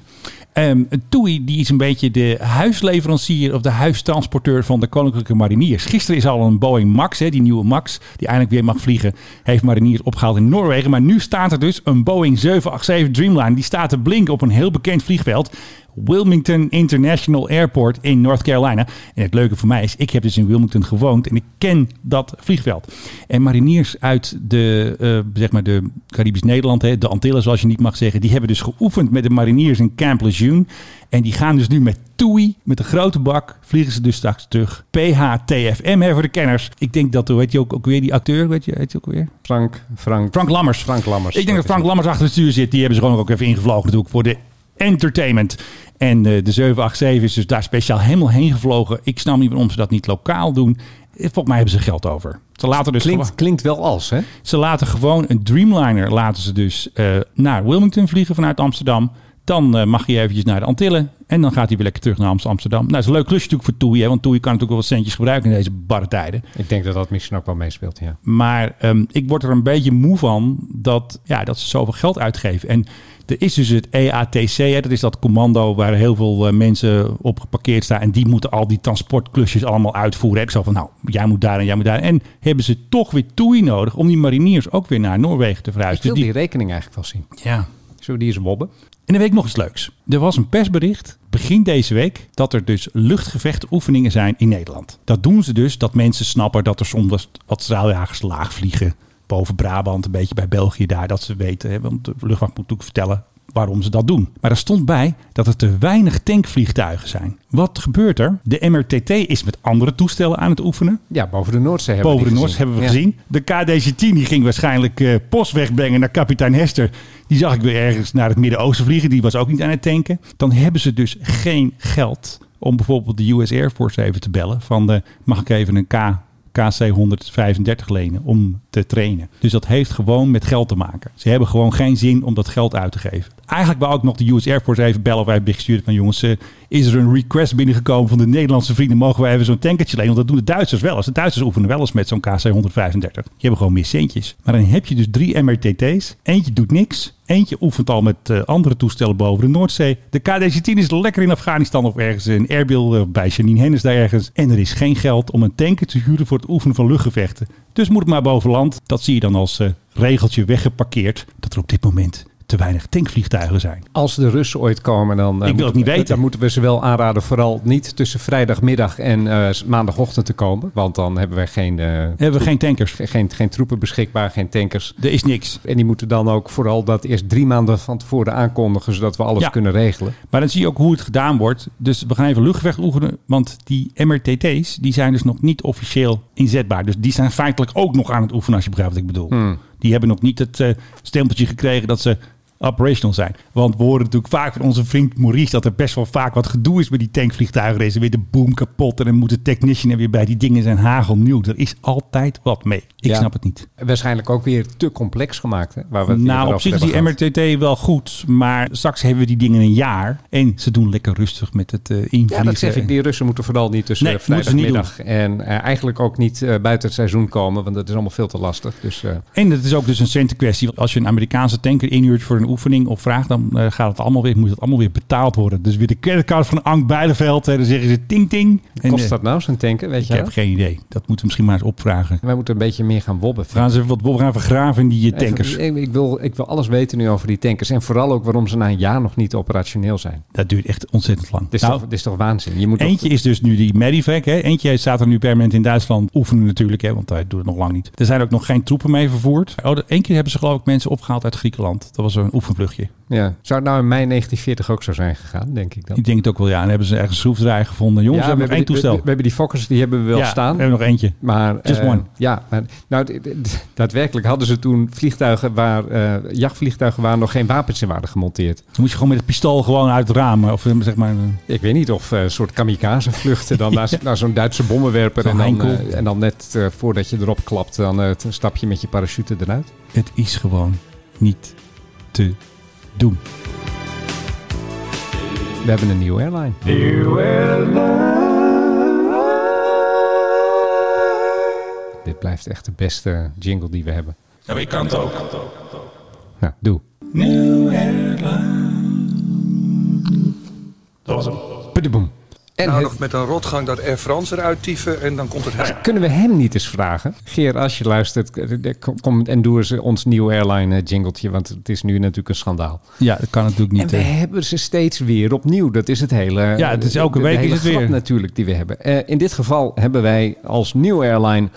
[SPEAKER 3] Ehm Toei die is een beetje de huisleverancier of de huistransporteur van de Koninklijke Mariniers. Gisteren is al een Boeing Max, hè, die nieuwe Max, die eindelijk weer mag vliegen, heeft Mariniers opgehaald in Noorwegen. Maar nu staat er dus een Boeing 787 Dreamliner. Die staat te blinken op een heel bekend vliegveld. Wilmington International Airport in North Carolina. En het leuke voor mij is, ik heb dus in Wilmington gewoond en ik ken dat vliegveld. En mariniers uit de, eh, zeg maar de Caribisch Nederland, hè, de Antillen zoals je niet mag zeggen, die hebben dus geoefend met de mariniers in Camp Lejeune. En die gaan dus nu met TUI, met een grote bak, vliegen ze dus straks terug. PHTFM hè, voor de kenners. Ik denk dat, weet je ook, ook weer die acteur, weet je, weet je ook weer?
[SPEAKER 4] Frank, Frank,
[SPEAKER 3] Frank Lammers.
[SPEAKER 4] Frank Lammers.
[SPEAKER 3] Ik denk dat
[SPEAKER 4] is
[SPEAKER 3] Frank Lammers achter het stuur zit. Die hebben ze gewoon ook even ingevlogen natuurlijk voor de entertainment. En eh, de 787 is dus daar speciaal helemaal heen gevlogen. Ik snap niet waarom ze dat niet lokaal doen. Eh, Volgens mij hebben ze geld over. Ze laten, dus
[SPEAKER 4] Klinkt, klinkt wel als, hè?
[SPEAKER 3] gewoon- ze laten gewoon een Dreamliner laten ze dus, eh, naar Wilmington vliegen vanuit Amsterdam. Dan eh, mag hij eventjes naar de Antillen. En dan gaat hij weer lekker terug naar Amst- Amsterdam. Nou, dat is een leuk klusje natuurlijk voor Toei. Hè, want Toei kan natuurlijk wel wat centjes gebruiken in deze barre tijden.
[SPEAKER 4] Ik denk dat dat misschien ook wel meespeelt, ja.
[SPEAKER 3] Maar ehm, ik word er een beetje moe van dat, ja, dat ze zoveel geld uitgeven. En er is dus het EATC, hè, dat is dat commando waar heel veel eh, mensen op geparkeerd staan. En die moeten al die transportklusjes allemaal uitvoeren. hè. Ik zo van, nou, jij moet daar en jij moet daar. En hebben ze toch weer TUI nodig om die mariniers ook weer naar Noorwegen te
[SPEAKER 4] Ik
[SPEAKER 3] verhuizen.
[SPEAKER 4] wil
[SPEAKER 3] Dus
[SPEAKER 4] die rekening eigenlijk wel zien.
[SPEAKER 3] die, ja.
[SPEAKER 4] Zullen we die eens wobben?
[SPEAKER 3] En dan weet ik nog iets leuks. Er was een persbericht begin deze week dat er dus luchtgevechtoefeningen zijn in Nederland. Dat doen ze dus dat mensen snappen dat er soms wat straaljagers laag vliegen. Boven Brabant, een beetje bij België daar, dat ze weten. Hè, want de luchtmacht moet natuurlijk vertellen waarom ze dat doen. Maar er stond bij dat er te weinig tankvliegtuigen zijn. Wat gebeurt er? De MRTT is met andere toestellen aan het oefenen.
[SPEAKER 4] Ja, boven de Noordzee hebben
[SPEAKER 3] Boven
[SPEAKER 4] we
[SPEAKER 3] de
[SPEAKER 4] die
[SPEAKER 3] Noord hebben we
[SPEAKER 4] Ja.
[SPEAKER 3] gezien. De KDC-10 die ging waarschijnlijk eh, post wegbrengen naar kapitein Hester. Die zag ik weer ergens naar het Midden-Oosten vliegen. Die was ook niet aan het tanken. Dan hebben ze dus geen geld om bijvoorbeeld de US Air Force even te bellen. Van eh, mag ik even een K, KC 135 lenen om te trainen. Dus dat heeft gewoon met geld te maken. Ze hebben gewoon geen zin om dat geld uit te geven. Eigenlijk wou ik nog de US Air Force even bellen of even bericht sturen van jongens, eh, is er een request binnengekomen van de Nederlandse vrienden, mogen we even zo'n tankertje lenen? Want dat doen de Duitsers wel eens. De Duitsers oefenen wel eens met zo'n KC-135. Die hebben gewoon meer centjes. Maar dan heb je dus drie MRTT's. Eentje doet niks. Eentje oefent al met eh, andere toestellen boven de Noordzee. De KDC-10 is lekker in Afghanistan of ergens in Erbil eh, bij Janine Hennis daar ergens. En er is geen geld om een tanker te huren voor het oefenen van luchtgevechten. Dus moet het maar boven land. Dat zie je dan als eh, regeltje weggeparkeerd. Dat er op dit moment te weinig tankvliegtuigen zijn.
[SPEAKER 4] Als de Russen ooit komen, dan, eh,
[SPEAKER 3] wil
[SPEAKER 4] moeten
[SPEAKER 3] het niet
[SPEAKER 4] we-
[SPEAKER 3] weten.
[SPEAKER 4] dan moeten we ze wel aanraden vooral niet tussen vrijdagmiddag en eh, maandagochtend te komen. Want dan hebben we geen, eh,
[SPEAKER 3] Hebben we geen tankers.
[SPEAKER 4] ge- geen, geen troepen beschikbaar, geen tankers.
[SPEAKER 3] Er is niks.
[SPEAKER 4] En die moeten dan ook vooral dat eerst drie maanden van tevoren aankondigen, zodat we alles
[SPEAKER 3] Ja.
[SPEAKER 4] kunnen regelen.
[SPEAKER 3] Maar dan zie je ook hoe het gedaan wordt. Dus we gaan even luchtweg oefenen. Want die MRTT's die zijn dus nog niet officieel inzetbaar. Dus die zijn feitelijk ook nog aan het oefenen, als je begrijpt wat ik bedoel. Die hebben nog niet het eh, stempeltje gekregen dat ze operational zijn. Want we horen natuurlijk vaak van onze vriend Maurice... dat er best wel vaak wat gedoe is met die tankvliegtuigen. Er is weer de boom kapot en dan moet de technician er weer bij. Die dingen zijn hagelnieuw. Er is altijd wat mee. Ik
[SPEAKER 4] Ja.
[SPEAKER 3] snap het niet.
[SPEAKER 4] Waarschijnlijk ook weer te complex gemaakt. Hè, waar we het eerder
[SPEAKER 3] Nou, op
[SPEAKER 4] over
[SPEAKER 3] zich is
[SPEAKER 4] hebben
[SPEAKER 3] die
[SPEAKER 4] gehad.
[SPEAKER 3] MRTT wel goed, maar straks hebben we die dingen een jaar. En ze doen lekker rustig met het eh invriezen.
[SPEAKER 4] Ja, dat zeg ik.
[SPEAKER 3] en-
[SPEAKER 4] Die Russen moeten vooral niet tussen
[SPEAKER 3] Nee,
[SPEAKER 4] eh,
[SPEAKER 3] moeten ze niet
[SPEAKER 4] vrijdagmiddag en eh, eigenlijk ook niet eh, buiten het seizoen komen, want dat is allemaal veel te lastig. Dus eh,
[SPEAKER 3] En het is ook dus een centenkwestie. Want Als je een Amerikaanse tanker inhuurt voor een oefening of vraagt, dan eh, gaat het allemaal weer, moet het allemaal weer betaald worden. Dus weer de creditcard van Ank Bijleveld. Hè, dan zeggen ze ting ting. En,
[SPEAKER 4] kost
[SPEAKER 3] eh,
[SPEAKER 4] dat nou zo'n tanken, weet
[SPEAKER 3] ik
[SPEAKER 4] je
[SPEAKER 3] heb
[SPEAKER 4] dat?
[SPEAKER 3] geen idee. Dat moeten we misschien maar eens opvragen.
[SPEAKER 4] Wij moeten een beetje meer gaan wobben.
[SPEAKER 3] We gaan ze even wat we gaan vergraven in die eh, tankers.
[SPEAKER 4] Even- ik, ik wil, ik wil alles weten nu over die tankers. En vooral ook waarom ze na een jaar nog niet operationeel zijn.
[SPEAKER 3] Dat duurt echt ontzettend lang.
[SPEAKER 4] Dit is,
[SPEAKER 3] Nou,
[SPEAKER 4] toch, dit is toch waanzin? Je moet toch-
[SPEAKER 3] Eentje is dus nu die Medivac. Hè. Eentje staat er nu permanent in Duitsland. Oefenen natuurlijk, hè, want hij doet het nog lang niet. Er zijn ook nog geen troepen mee vervoerd. Oh, de- één keer hebben ze geloof ik mensen opgehaald uit Griekenland. Dat was een oefenvluchtje.
[SPEAKER 4] ja. Zou het nou in mei 1940 ook zo zijn gegaan, denk ik dan?
[SPEAKER 3] Ik denk het ook wel, ja. En dan hebben ze ergens een schroefdraaier gevonden. Jongens,
[SPEAKER 4] Ja,
[SPEAKER 3] we hebben nog één
[SPEAKER 4] die, we,
[SPEAKER 3] toestel.
[SPEAKER 4] we hebben die Fokkers, die hebben we wel
[SPEAKER 3] ja,
[SPEAKER 4] staan.
[SPEAKER 3] we hebben nog eentje.
[SPEAKER 4] Maar,
[SPEAKER 3] Just
[SPEAKER 4] eh,
[SPEAKER 3] one.
[SPEAKER 4] Ja, maar, nou, d- d- d- daadwerkelijk hadden ze toen vliegtuigen waar, eh, jachtvliegtuigen waar nog geen wapens in waren gemonteerd.
[SPEAKER 3] Dan moet je gewoon met het pistool gewoon uit het raam. Of eh, zeg maar... eh,
[SPEAKER 4] Ik weet niet of eh, een soort kamikaze vluchten dan naar, naar zo'n Duitse bommenwerper.
[SPEAKER 3] Zo'n
[SPEAKER 4] en, dan,
[SPEAKER 3] Heinkel.
[SPEAKER 4] eh, en dan net eh, voordat je erop klapt, dan eh, t- stap je met je parachute eruit.
[SPEAKER 3] Het is gewoon niet te doen.
[SPEAKER 4] We hebben een nieuwe airline. Dit blijft echt de beste jingle die we hebben.
[SPEAKER 3] Nou, ik kan het ook.
[SPEAKER 4] Nou, doe. Pudeboem. En
[SPEAKER 8] Nou,
[SPEAKER 4] het-
[SPEAKER 8] nog met een rotgang dat Air France eruit tyfen en dan komt het her.
[SPEAKER 4] Kunnen we hem niet eens vragen? Geer, als je luistert, eh, kom- kom en doe eens ons nieuwe airline eh, jingletje. Want het is nu natuurlijk een schandaal.
[SPEAKER 3] Ja, dat kan natuurlijk
[SPEAKER 4] En
[SPEAKER 3] niet.
[SPEAKER 4] we
[SPEAKER 3] eh.
[SPEAKER 4] hebben ze steeds weer opnieuw. Dat is het hele.
[SPEAKER 3] Ja, het is elke
[SPEAKER 4] de- de
[SPEAKER 3] week is
[SPEAKER 4] hele
[SPEAKER 3] het
[SPEAKER 4] grap
[SPEAKER 3] weer.
[SPEAKER 4] natuurlijk die we hebben. Eh, in dit geval hebben wij als nieuwe airline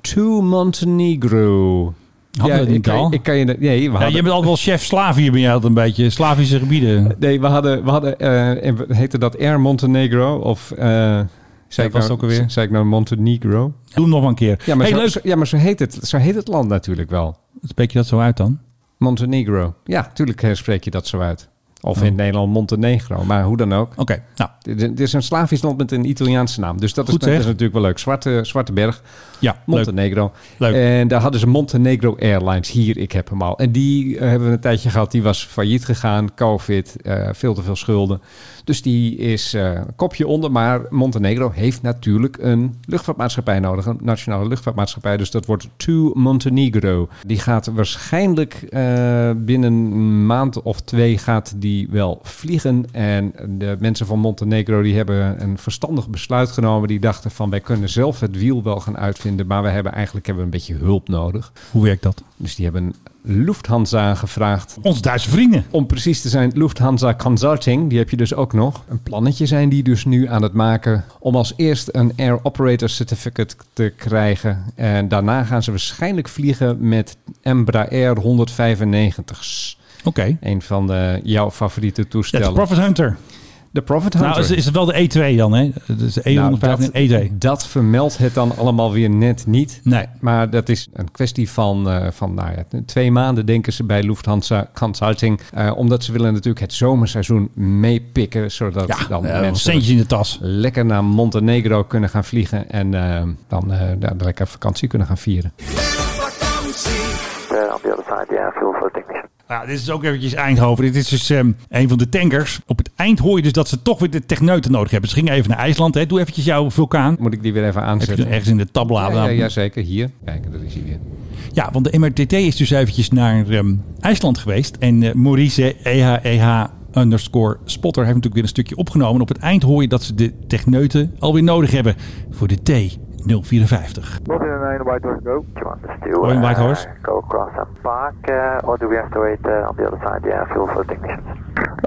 [SPEAKER 4] To Montenegro.
[SPEAKER 3] Hadden we die
[SPEAKER 4] ik,
[SPEAKER 3] niet al?
[SPEAKER 4] Ik kan je. Nee, we
[SPEAKER 3] Ja,
[SPEAKER 4] hadden.
[SPEAKER 3] je bent altijd wel chef Slavië, ben je altijd een beetje. Slavische gebieden.
[SPEAKER 4] Nee, we hadden, we hadden eh, en we- heette dat Air Montenegro of eh, zei, ik
[SPEAKER 3] was
[SPEAKER 4] nou,
[SPEAKER 3] het ook alweer?
[SPEAKER 4] zei ik nou Montenegro?
[SPEAKER 3] Doe hem nog maar een keer.
[SPEAKER 4] Ja, maar,
[SPEAKER 3] hey,
[SPEAKER 4] zo,
[SPEAKER 3] leuk.
[SPEAKER 4] zo- ja, maar zo, heet het, zo heet het land natuurlijk wel.
[SPEAKER 3] Spreek je dat zo uit dan?
[SPEAKER 4] Montenegro. Ja, tuurlijk eh, spreek je dat zo uit. Of
[SPEAKER 3] Oh.
[SPEAKER 4] in Nederland Montenegro, maar hoe dan ook.
[SPEAKER 3] Oké, nou,
[SPEAKER 4] Het het is een Slavisch land met een Italiaanse naam. Dus dat,
[SPEAKER 3] Goed,
[SPEAKER 4] is, dat
[SPEAKER 3] zeg.
[SPEAKER 4] is natuurlijk wel leuk. Zwarte, Zwarte Berg,
[SPEAKER 3] ja, leuk.
[SPEAKER 4] Montenegro.
[SPEAKER 3] Leuk.
[SPEAKER 4] En daar hadden ze Montenegro Airlines. Hier, ik heb hem al. En die eh, hebben we een tijdje gehad. Die was failliet gegaan. Covid, eh, veel te veel schulden. Dus die is eh, kopje onder. Maar Montenegro heeft natuurlijk een luchtvaartmaatschappij nodig. Een nationale luchtvaartmaatschappij. Dus dat wordt To Montenegro. Die gaat waarschijnlijk eh, binnen een maand of twee gaat die wel vliegen. En de mensen van Montenegro die hebben een verstandig besluit genomen. Die dachten van wij kunnen zelf het wiel wel gaan uitvinden. Maar we hebben eigenlijk hebben we een beetje hulp nodig.
[SPEAKER 3] Hoe werkt dat?
[SPEAKER 4] Dus die hebben Lufthansa gevraagd.
[SPEAKER 3] Onze Duitse vrienden.
[SPEAKER 4] Om precies te zijn, Lufthansa Consulting, die heb je dus ook nog. Een plannetje zijn die dus nu aan het maken om als eerst een Air Operator Certificate te krijgen. En daarna gaan ze waarschijnlijk vliegen met Embraer 195's.
[SPEAKER 3] Oké.
[SPEAKER 4] Een van de, jouw favoriete
[SPEAKER 3] Dat is
[SPEAKER 4] toestellen.
[SPEAKER 3] Profit Hunter.
[SPEAKER 4] de Profit Hunter.
[SPEAKER 3] Nou, is, is het wel de E2 dan, hè? Dus E105
[SPEAKER 4] Nou,
[SPEAKER 3] en E2.
[SPEAKER 4] dat vermeldt het dan allemaal weer net niet.
[SPEAKER 3] E Nee.
[SPEAKER 4] Maar dat is een kwestie van, eh, van nou ja, twee maanden, denken ze bij Lufthansa Consulting. Eh, omdat ze willen natuurlijk het zomerseizoen meepikken. Zodat
[SPEAKER 3] Ja,
[SPEAKER 4] dan
[SPEAKER 3] eh,
[SPEAKER 4] mensen
[SPEAKER 3] centjes in de tas.
[SPEAKER 4] lekker naar Montenegro kunnen gaan vliegen. En eh, dan eh, daar lekker vakantie kunnen gaan vieren.
[SPEAKER 2] Uh, on the other side, yeah, fuel for technician.
[SPEAKER 3] Eh, Nou, dit is ook eventjes Eindhoven. Dit is dus ehm, een van de tankers. Op het eind hoor je dus dat ze toch weer de techneuten nodig hebben. Ze gingen even naar IJsland. Hè. Doe eventjes jouw vulkaan.
[SPEAKER 4] Moet ik die weer even
[SPEAKER 3] Heb je
[SPEAKER 4] aanzetten?
[SPEAKER 3] ergens in de
[SPEAKER 4] Ja,
[SPEAKER 3] tabbladen.
[SPEAKER 4] ja, ja, zeker. Hier. Kijk, dat is hij weer.
[SPEAKER 3] Ja, want de MRTT is dus eventjes naar ehm, IJsland geweest. En eh, Maurice EHEH underscore spotter heeft natuurlijk weer een stukje opgenomen. Op het eind hoor je dat ze de techneuten alweer nodig hebben voor de T054.
[SPEAKER 2] Golden and White Horse, go. Do you want us to
[SPEAKER 3] Go in White Horse.
[SPEAKER 2] go across and park, uh, or do we have to wait uh, on the other side? Yeah, fuel for technicians.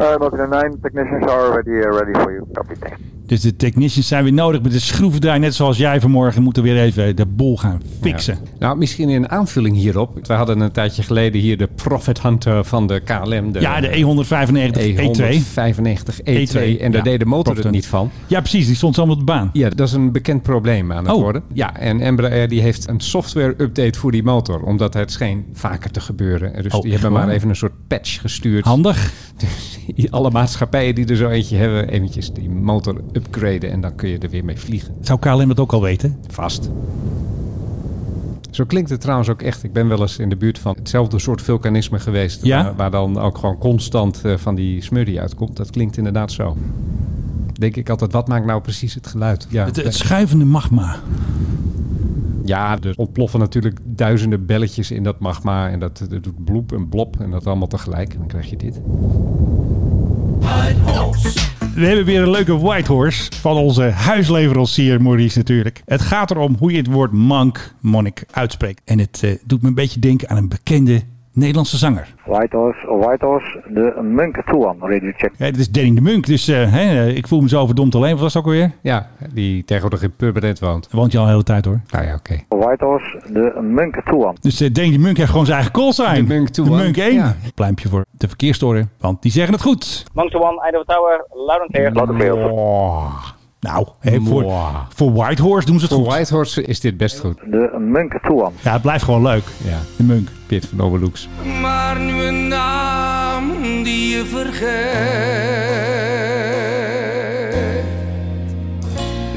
[SPEAKER 2] Uh, Golden 9 technicians are already uh, ready for you. Copy, thanks.
[SPEAKER 3] Dus de technicians zijn weer nodig met de schroevendraai. Net zoals jij vanmorgen moeten weer even de boel gaan fixen.
[SPEAKER 4] Ja. Nou, misschien een aanvulling hierop. We hadden een tijdje geleden hier de Profit Hunter van de KLM. De,
[SPEAKER 3] Ja, de E E195
[SPEAKER 4] E
[SPEAKER 3] E2.
[SPEAKER 4] E195 E2.
[SPEAKER 3] E2,
[SPEAKER 4] E En daar
[SPEAKER 3] E ja.
[SPEAKER 4] deed de motor
[SPEAKER 3] Profit
[SPEAKER 4] het niet van.
[SPEAKER 3] Ja, precies. Die stond zomaar op de baan.
[SPEAKER 4] Ja, dat is een bekend probleem aan het
[SPEAKER 3] Oh.
[SPEAKER 4] worden. Ja, en Embraer eh, die heeft een software-update voor die motor. Omdat het scheen vaker te gebeuren. Dus
[SPEAKER 3] Oh,
[SPEAKER 4] die
[SPEAKER 3] echt
[SPEAKER 4] hebben maar
[SPEAKER 3] waar?
[SPEAKER 4] even een soort patch gestuurd.
[SPEAKER 3] Handig.
[SPEAKER 4] Dus alle maatschappijen die er zo eentje hebben, eventjes die motor upgraden. En dan kun je er weer mee vliegen.
[SPEAKER 3] Zou KLM dat ook al weten?
[SPEAKER 4] Vast. Zo klinkt het trouwens ook echt. Ik ben wel eens in de buurt van hetzelfde soort vulkanisme geweest. eh,
[SPEAKER 3] Ja?
[SPEAKER 4] Waar, waar dan ook gewoon constant eh, van die smurrie uitkomt. Dat klinkt inderdaad zo. Denk ik altijd, wat maakt nou precies het geluid? Ja, eh,
[SPEAKER 3] Het, het schuivende magma.
[SPEAKER 4] ja er ontploffen natuurlijk duizenden belletjes in dat magma. En dat, dat doet bloep en blop en dat allemaal tegelijk. En dan krijg je dit.
[SPEAKER 3] We hebben weer een leuke whitehorse van onze huisleverancier Maurice natuurlijk. Het gaat erom hoe je het woord monk, monnik, uitspreekt. En het eh, doet me een beetje denken aan een bekende Nederlandse zanger.
[SPEAKER 2] White Horse, White Horse, de Munk 2 ready to check.
[SPEAKER 3] Ja, dit is Danny de Munk, dus eh, hè, eh, ik voel me zo verdomd alleen. Wat was het ook alweer?
[SPEAKER 4] Ja, die tegenwoordig in Purmerend woont.
[SPEAKER 3] Daar woont je al een hele tijd hoor.
[SPEAKER 4] Nou ja, oké.
[SPEAKER 2] White Horse, de Munk 2
[SPEAKER 3] Dus eh, Danny de Munk heeft gewoon zijn eigen call zijn.
[SPEAKER 4] De Munk toe,
[SPEAKER 3] De
[SPEAKER 4] hoor.
[SPEAKER 3] Munk 1.
[SPEAKER 4] Ja.
[SPEAKER 3] Pluimpje voor de verkeersstoren, want die zeggen het goed.
[SPEAKER 9] Moncton One, Idaho Tower, loud and clear.
[SPEAKER 2] Laat het beeld.
[SPEAKER 3] Nou, hè, voor,
[SPEAKER 4] Mwah.
[SPEAKER 3] voor Whitehorse doen ze het
[SPEAKER 4] Voor
[SPEAKER 3] goed.
[SPEAKER 4] Whitehorse is dit best goed.
[SPEAKER 2] De Munk 2
[SPEAKER 3] Ja, het blijft gewoon leuk.
[SPEAKER 4] Ja,
[SPEAKER 3] De Munk.
[SPEAKER 4] Pit van Overlooks.
[SPEAKER 10] Maar nu een naam die je vergeet.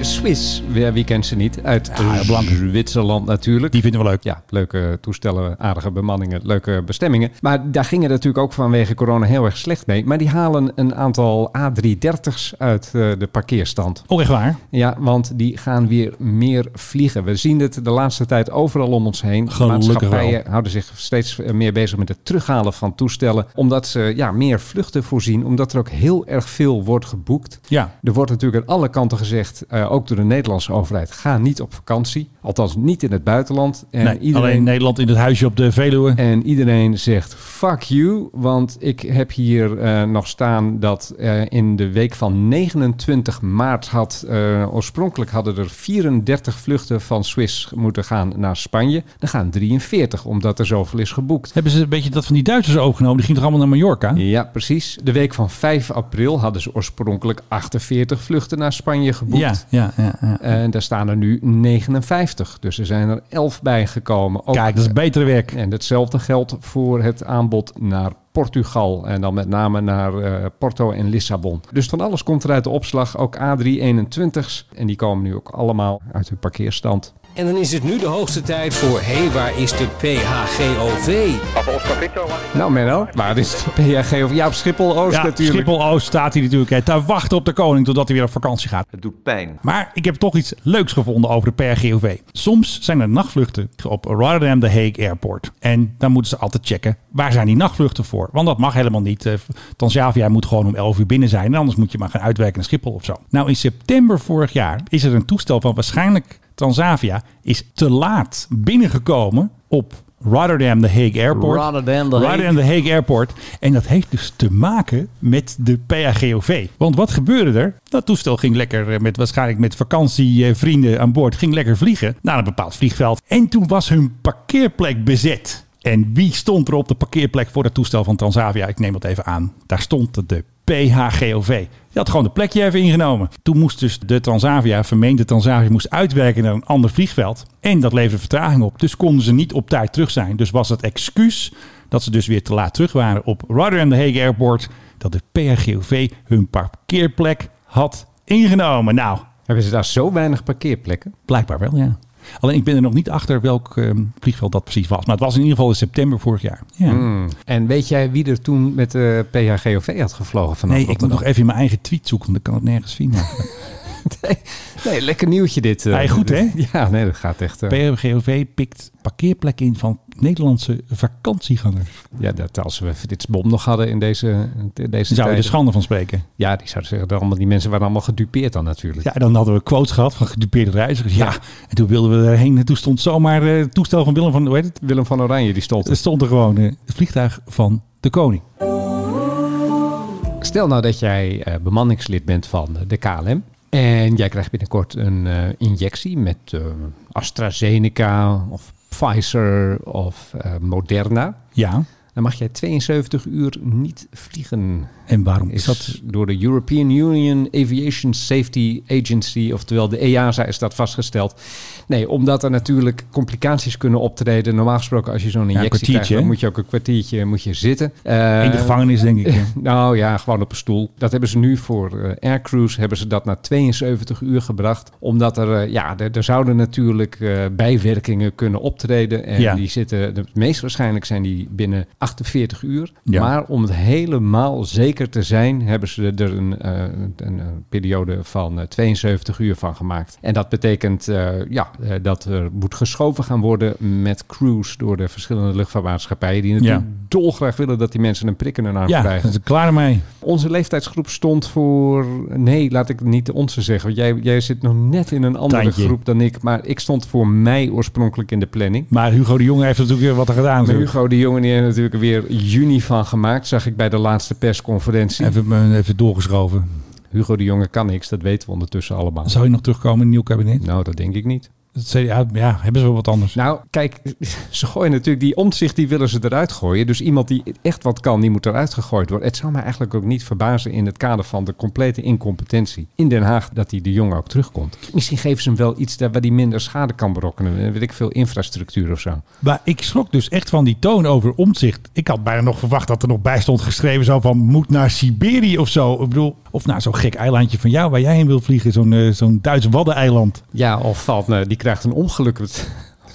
[SPEAKER 4] Swiss, weer wie kent ze niet? Uit
[SPEAKER 3] blank.
[SPEAKER 4] Zwitserland natuurlijk.
[SPEAKER 3] Die vinden we leuk.
[SPEAKER 4] ja, leuke toestellen, aardige bemanningen, leuke bestemmingen. Maar daar ging het natuurlijk ook vanwege corona heel erg slecht mee. Maar die halen een aantal A330's uit eh, de parkeerstand.
[SPEAKER 3] Oh, echt waar?
[SPEAKER 4] Ja, want die gaan weer meer vliegen. We zien het de laatste tijd overal om ons heen. De
[SPEAKER 3] Gelukkig
[SPEAKER 4] maatschappijen houden zich steeds meer bezig met het terughalen van toestellen. Omdat ze ja, meer vluchten voorzien. Omdat er ook heel erg veel wordt geboekt.
[SPEAKER 3] Ja.
[SPEAKER 4] Er wordt natuurlijk aan alle kanten gezegd, eh, ook door de Nederlandse overheid, ga niet op vakantie. Althans, niet in het buitenland. En
[SPEAKER 3] Nee, Alleen in Nederland in het huisje op de Veluwe.
[SPEAKER 4] en iedereen zegt fuck you, want ik heb hier eh, nog staan dat eh, in de week van 29 maart had, eh, oorspronkelijk hadden er 34 vluchten van Swiss moeten gaan naar Spanje. Er gaan 43, omdat er zoveel is geboekt.
[SPEAKER 3] Hebben ze een beetje dat van die Duitsers overgenomen? Die gingen toch allemaal naar Mallorca?
[SPEAKER 4] Ja, precies. De week van 5 april hadden ze oorspronkelijk 48 vluchten naar Spanje geboekt.
[SPEAKER 3] Ja, ja, ja, ja.
[SPEAKER 4] En daar staan er nu 59. Dus er zijn er 11 bijgekomen. Ook
[SPEAKER 3] Kijk, dat is betere werk.
[SPEAKER 4] En hetzelfde geldt voor het aanbod naar Portugal en dan met name naar eh, Porto en Lissabon. Dus van alles komt er uit de opslag, ook A321's. En die komen nu ook allemaal uit hun parkeerstand.
[SPEAKER 5] En dan is het nu de hoogste tijd voor... Hé, hey, waar is de PHGOV?
[SPEAKER 4] Nou Menno, waar is de PHG? Of ja, op Schiphol-Oost
[SPEAKER 3] Ja,
[SPEAKER 4] natuurlijk.
[SPEAKER 3] Schiphol-Oost staat hij natuurlijk hè, te wachten op de koning totdat hij weer op vakantie gaat.
[SPEAKER 10] Het doet pijn.
[SPEAKER 3] Maar ik heb toch iets leuks gevonden over de PRGOV. Soms zijn er nachtvluchten op Rotterdam de Hague Airport. En dan moeten ze altijd checken, waar zijn die nachtvluchten voor? Want dat mag helemaal niet. Eh, Transavia moet gewoon om 11 uur binnen zijn. En anders moet je maar gaan uitwerken naar Schiphol of zo. Nou, in september vorig jaar is er een toestel van waarschijnlijk Transavia... is te laat binnengekomen op Rotterdam de Hague Airport.
[SPEAKER 10] Rotterdam de
[SPEAKER 3] Hague.
[SPEAKER 10] Hague.
[SPEAKER 3] Rotterdam de Hague Airport. En dat heeft dus te maken met de PAGOV. Want wat gebeurde er? Dat toestel ging lekker eh, met waarschijnlijk met vakantievrienden aan boord. Ging lekker vliegen naar een bepaald vliegveld. En toen was hun parkeerplek bezet. En wie stond er op de parkeerplek voor het toestel van Transavia? Ik neem dat even aan. Daar stond de PHGOV. Die had gewoon de plekje even ingenomen. Toen moest dus de Transavia, vermeende Transavia, moest uitwerken naar een ander vliegveld. En dat leverde vertraging op. Dus konden ze niet op tijd terug zijn. Dus was het excuus dat ze dus weer te laat terug waren op Rotterdam de Hague Airport. Dat de PHGOV hun parkeerplek had ingenomen. Nou,
[SPEAKER 4] Hebben ze daar zo weinig parkeerplekken?
[SPEAKER 3] blijkbaar wel, ja. Alleen ik ben er nog niet achter welk ehm, vliegveld dat precies was. Maar het was in ieder geval in september vorig jaar. Ja.
[SPEAKER 4] Hmm. En weet jij wie er toen met de PHGOV had gevlogen vanaf
[SPEAKER 3] Nee, ik moet nog even in mijn eigen tweet zoeken, want ik kan het nergens vinden.
[SPEAKER 4] Nee, nee, lekker nieuwtje dit. eh.
[SPEAKER 3] Hey, e- goed, hè?
[SPEAKER 4] Ja, nee, dat gaat echt... eh,
[SPEAKER 3] PMGOV pikt parkeerplek in van Nederlandse vakantiegangers.
[SPEAKER 4] ja, dat als we dit bom nog hadden in deze, in deze
[SPEAKER 3] Daar zou je de
[SPEAKER 4] tijden.
[SPEAKER 3] schande van spreken.
[SPEAKER 4] Ja, die zouden zeggen, dat allemaal, die mensen waren allemaal gedupeerd dan natuurlijk.
[SPEAKER 3] Ja, dan hadden we quotes gehad van gedupeerde reizigers. Ja, en toen wilden we erheen. En toen stond zomaar eh, het toestel van Willem van... Hoe heet het?
[SPEAKER 4] Willem van Oranje, die stond
[SPEAKER 3] Er stond er gewoon eh, het vliegtuig van de koning.
[SPEAKER 4] Stel nou dat jij eh, bemanningslid bent van de KLM. En jij krijgt binnenkort een eh, injectie met eh, AstraZeneca of Pfizer of eh, Moderna.
[SPEAKER 3] Ja,
[SPEAKER 4] Dan mag jij 72 uur niet vliegen.
[SPEAKER 3] en waarom
[SPEAKER 4] Is
[SPEAKER 3] is dat...
[SPEAKER 4] door de European Union Aviation Safety Agency, oftewel de E EASA, is dat vastgesteld. Nee, omdat er natuurlijk complicaties kunnen optreden. Normaal gesproken, als je zo'n injectie
[SPEAKER 3] kwartiertje,
[SPEAKER 4] krijgt, dan
[SPEAKER 3] hè?
[SPEAKER 4] moet je ook een kwartiertje moet je zitten. Eh,
[SPEAKER 3] In de gevangenis, denk ik. hè?
[SPEAKER 4] nou ja, gewoon op een stoel. Dat hebben ze nu voor eh, aircrews hebben ze dat naar 72 uur gebracht. Omdat er, eh, ja, er, er zouden natuurlijk eh, bijwerkingen kunnen optreden. En
[SPEAKER 3] Ja.
[SPEAKER 4] die zitten, de- het meest waarschijnlijk zijn die binnen 48 uur.
[SPEAKER 3] Ja.
[SPEAKER 4] Maar om het helemaal zeker te zijn, hebben ze er een, eh, een, eh, periode van eh, 72 uur van gemaakt. En dat betekent eh, ja, eh, dat er moet geschoven gaan worden met crews door de verschillende luchtvaartmaatschappijen. Die natuurlijk
[SPEAKER 3] Ja.
[SPEAKER 4] dolgraag willen dat die mensen een prik in hun arm
[SPEAKER 3] Ja,
[SPEAKER 4] krijgen.
[SPEAKER 3] dat is klaar mee.
[SPEAKER 4] Onze leeftijdsgroep stond voor. Nee, laat ik niet de onze zeggen. Want jij, jij zit nog net in een andere
[SPEAKER 3] Tijntje.
[SPEAKER 4] groep dan ik. Maar ik stond voor mij oorspronkelijk in de planning.
[SPEAKER 3] Maar Hugo de Jonge heeft natuurlijk weer wat er gedaan.
[SPEAKER 4] Maar
[SPEAKER 3] natuurlijk.
[SPEAKER 4] Hugo de Jonge die heeft natuurlijk weer juni van gemaakt. Zag ik bij de laatste persconferentie.
[SPEAKER 3] Even, eh, even doorgeschoven.
[SPEAKER 4] Hugo de Jonge kan niks, dat weten we ondertussen allemaal.
[SPEAKER 3] Zou je nog terugkomen in een nieuw kabinet?
[SPEAKER 4] Nou, dat denk ik niet.
[SPEAKER 3] Het CDA, ja, hebben ze wel wat anders.
[SPEAKER 4] Nou, kijk, ze gooien natuurlijk die omzicht, die willen ze eruit gooien. Dus iemand die echt wat kan, die moet eruit gegooid worden. Het zou mij eigenlijk ook niet verbazen in het kader van de complete incompetentie in Den Haag dat die de jongen ook terugkomt. Misschien geven ze hem wel iets daar waar die minder schade kan berokkenen. Eh, Weet ik veel, infrastructuur of zo.
[SPEAKER 3] Maar ik schrok dus echt van die toon over omzicht. Ik had bijna nog verwacht dat er nog bij stond geschreven zo van moet naar Siberië of zo. Ik bedoel, of naar zo'n gek eilandje van jou waar jij heen wil vliegen. Zo'n eh, zo'n Duits waddeneiland.
[SPEAKER 4] Ja, of valt, nou, die krijgt een ongeluk.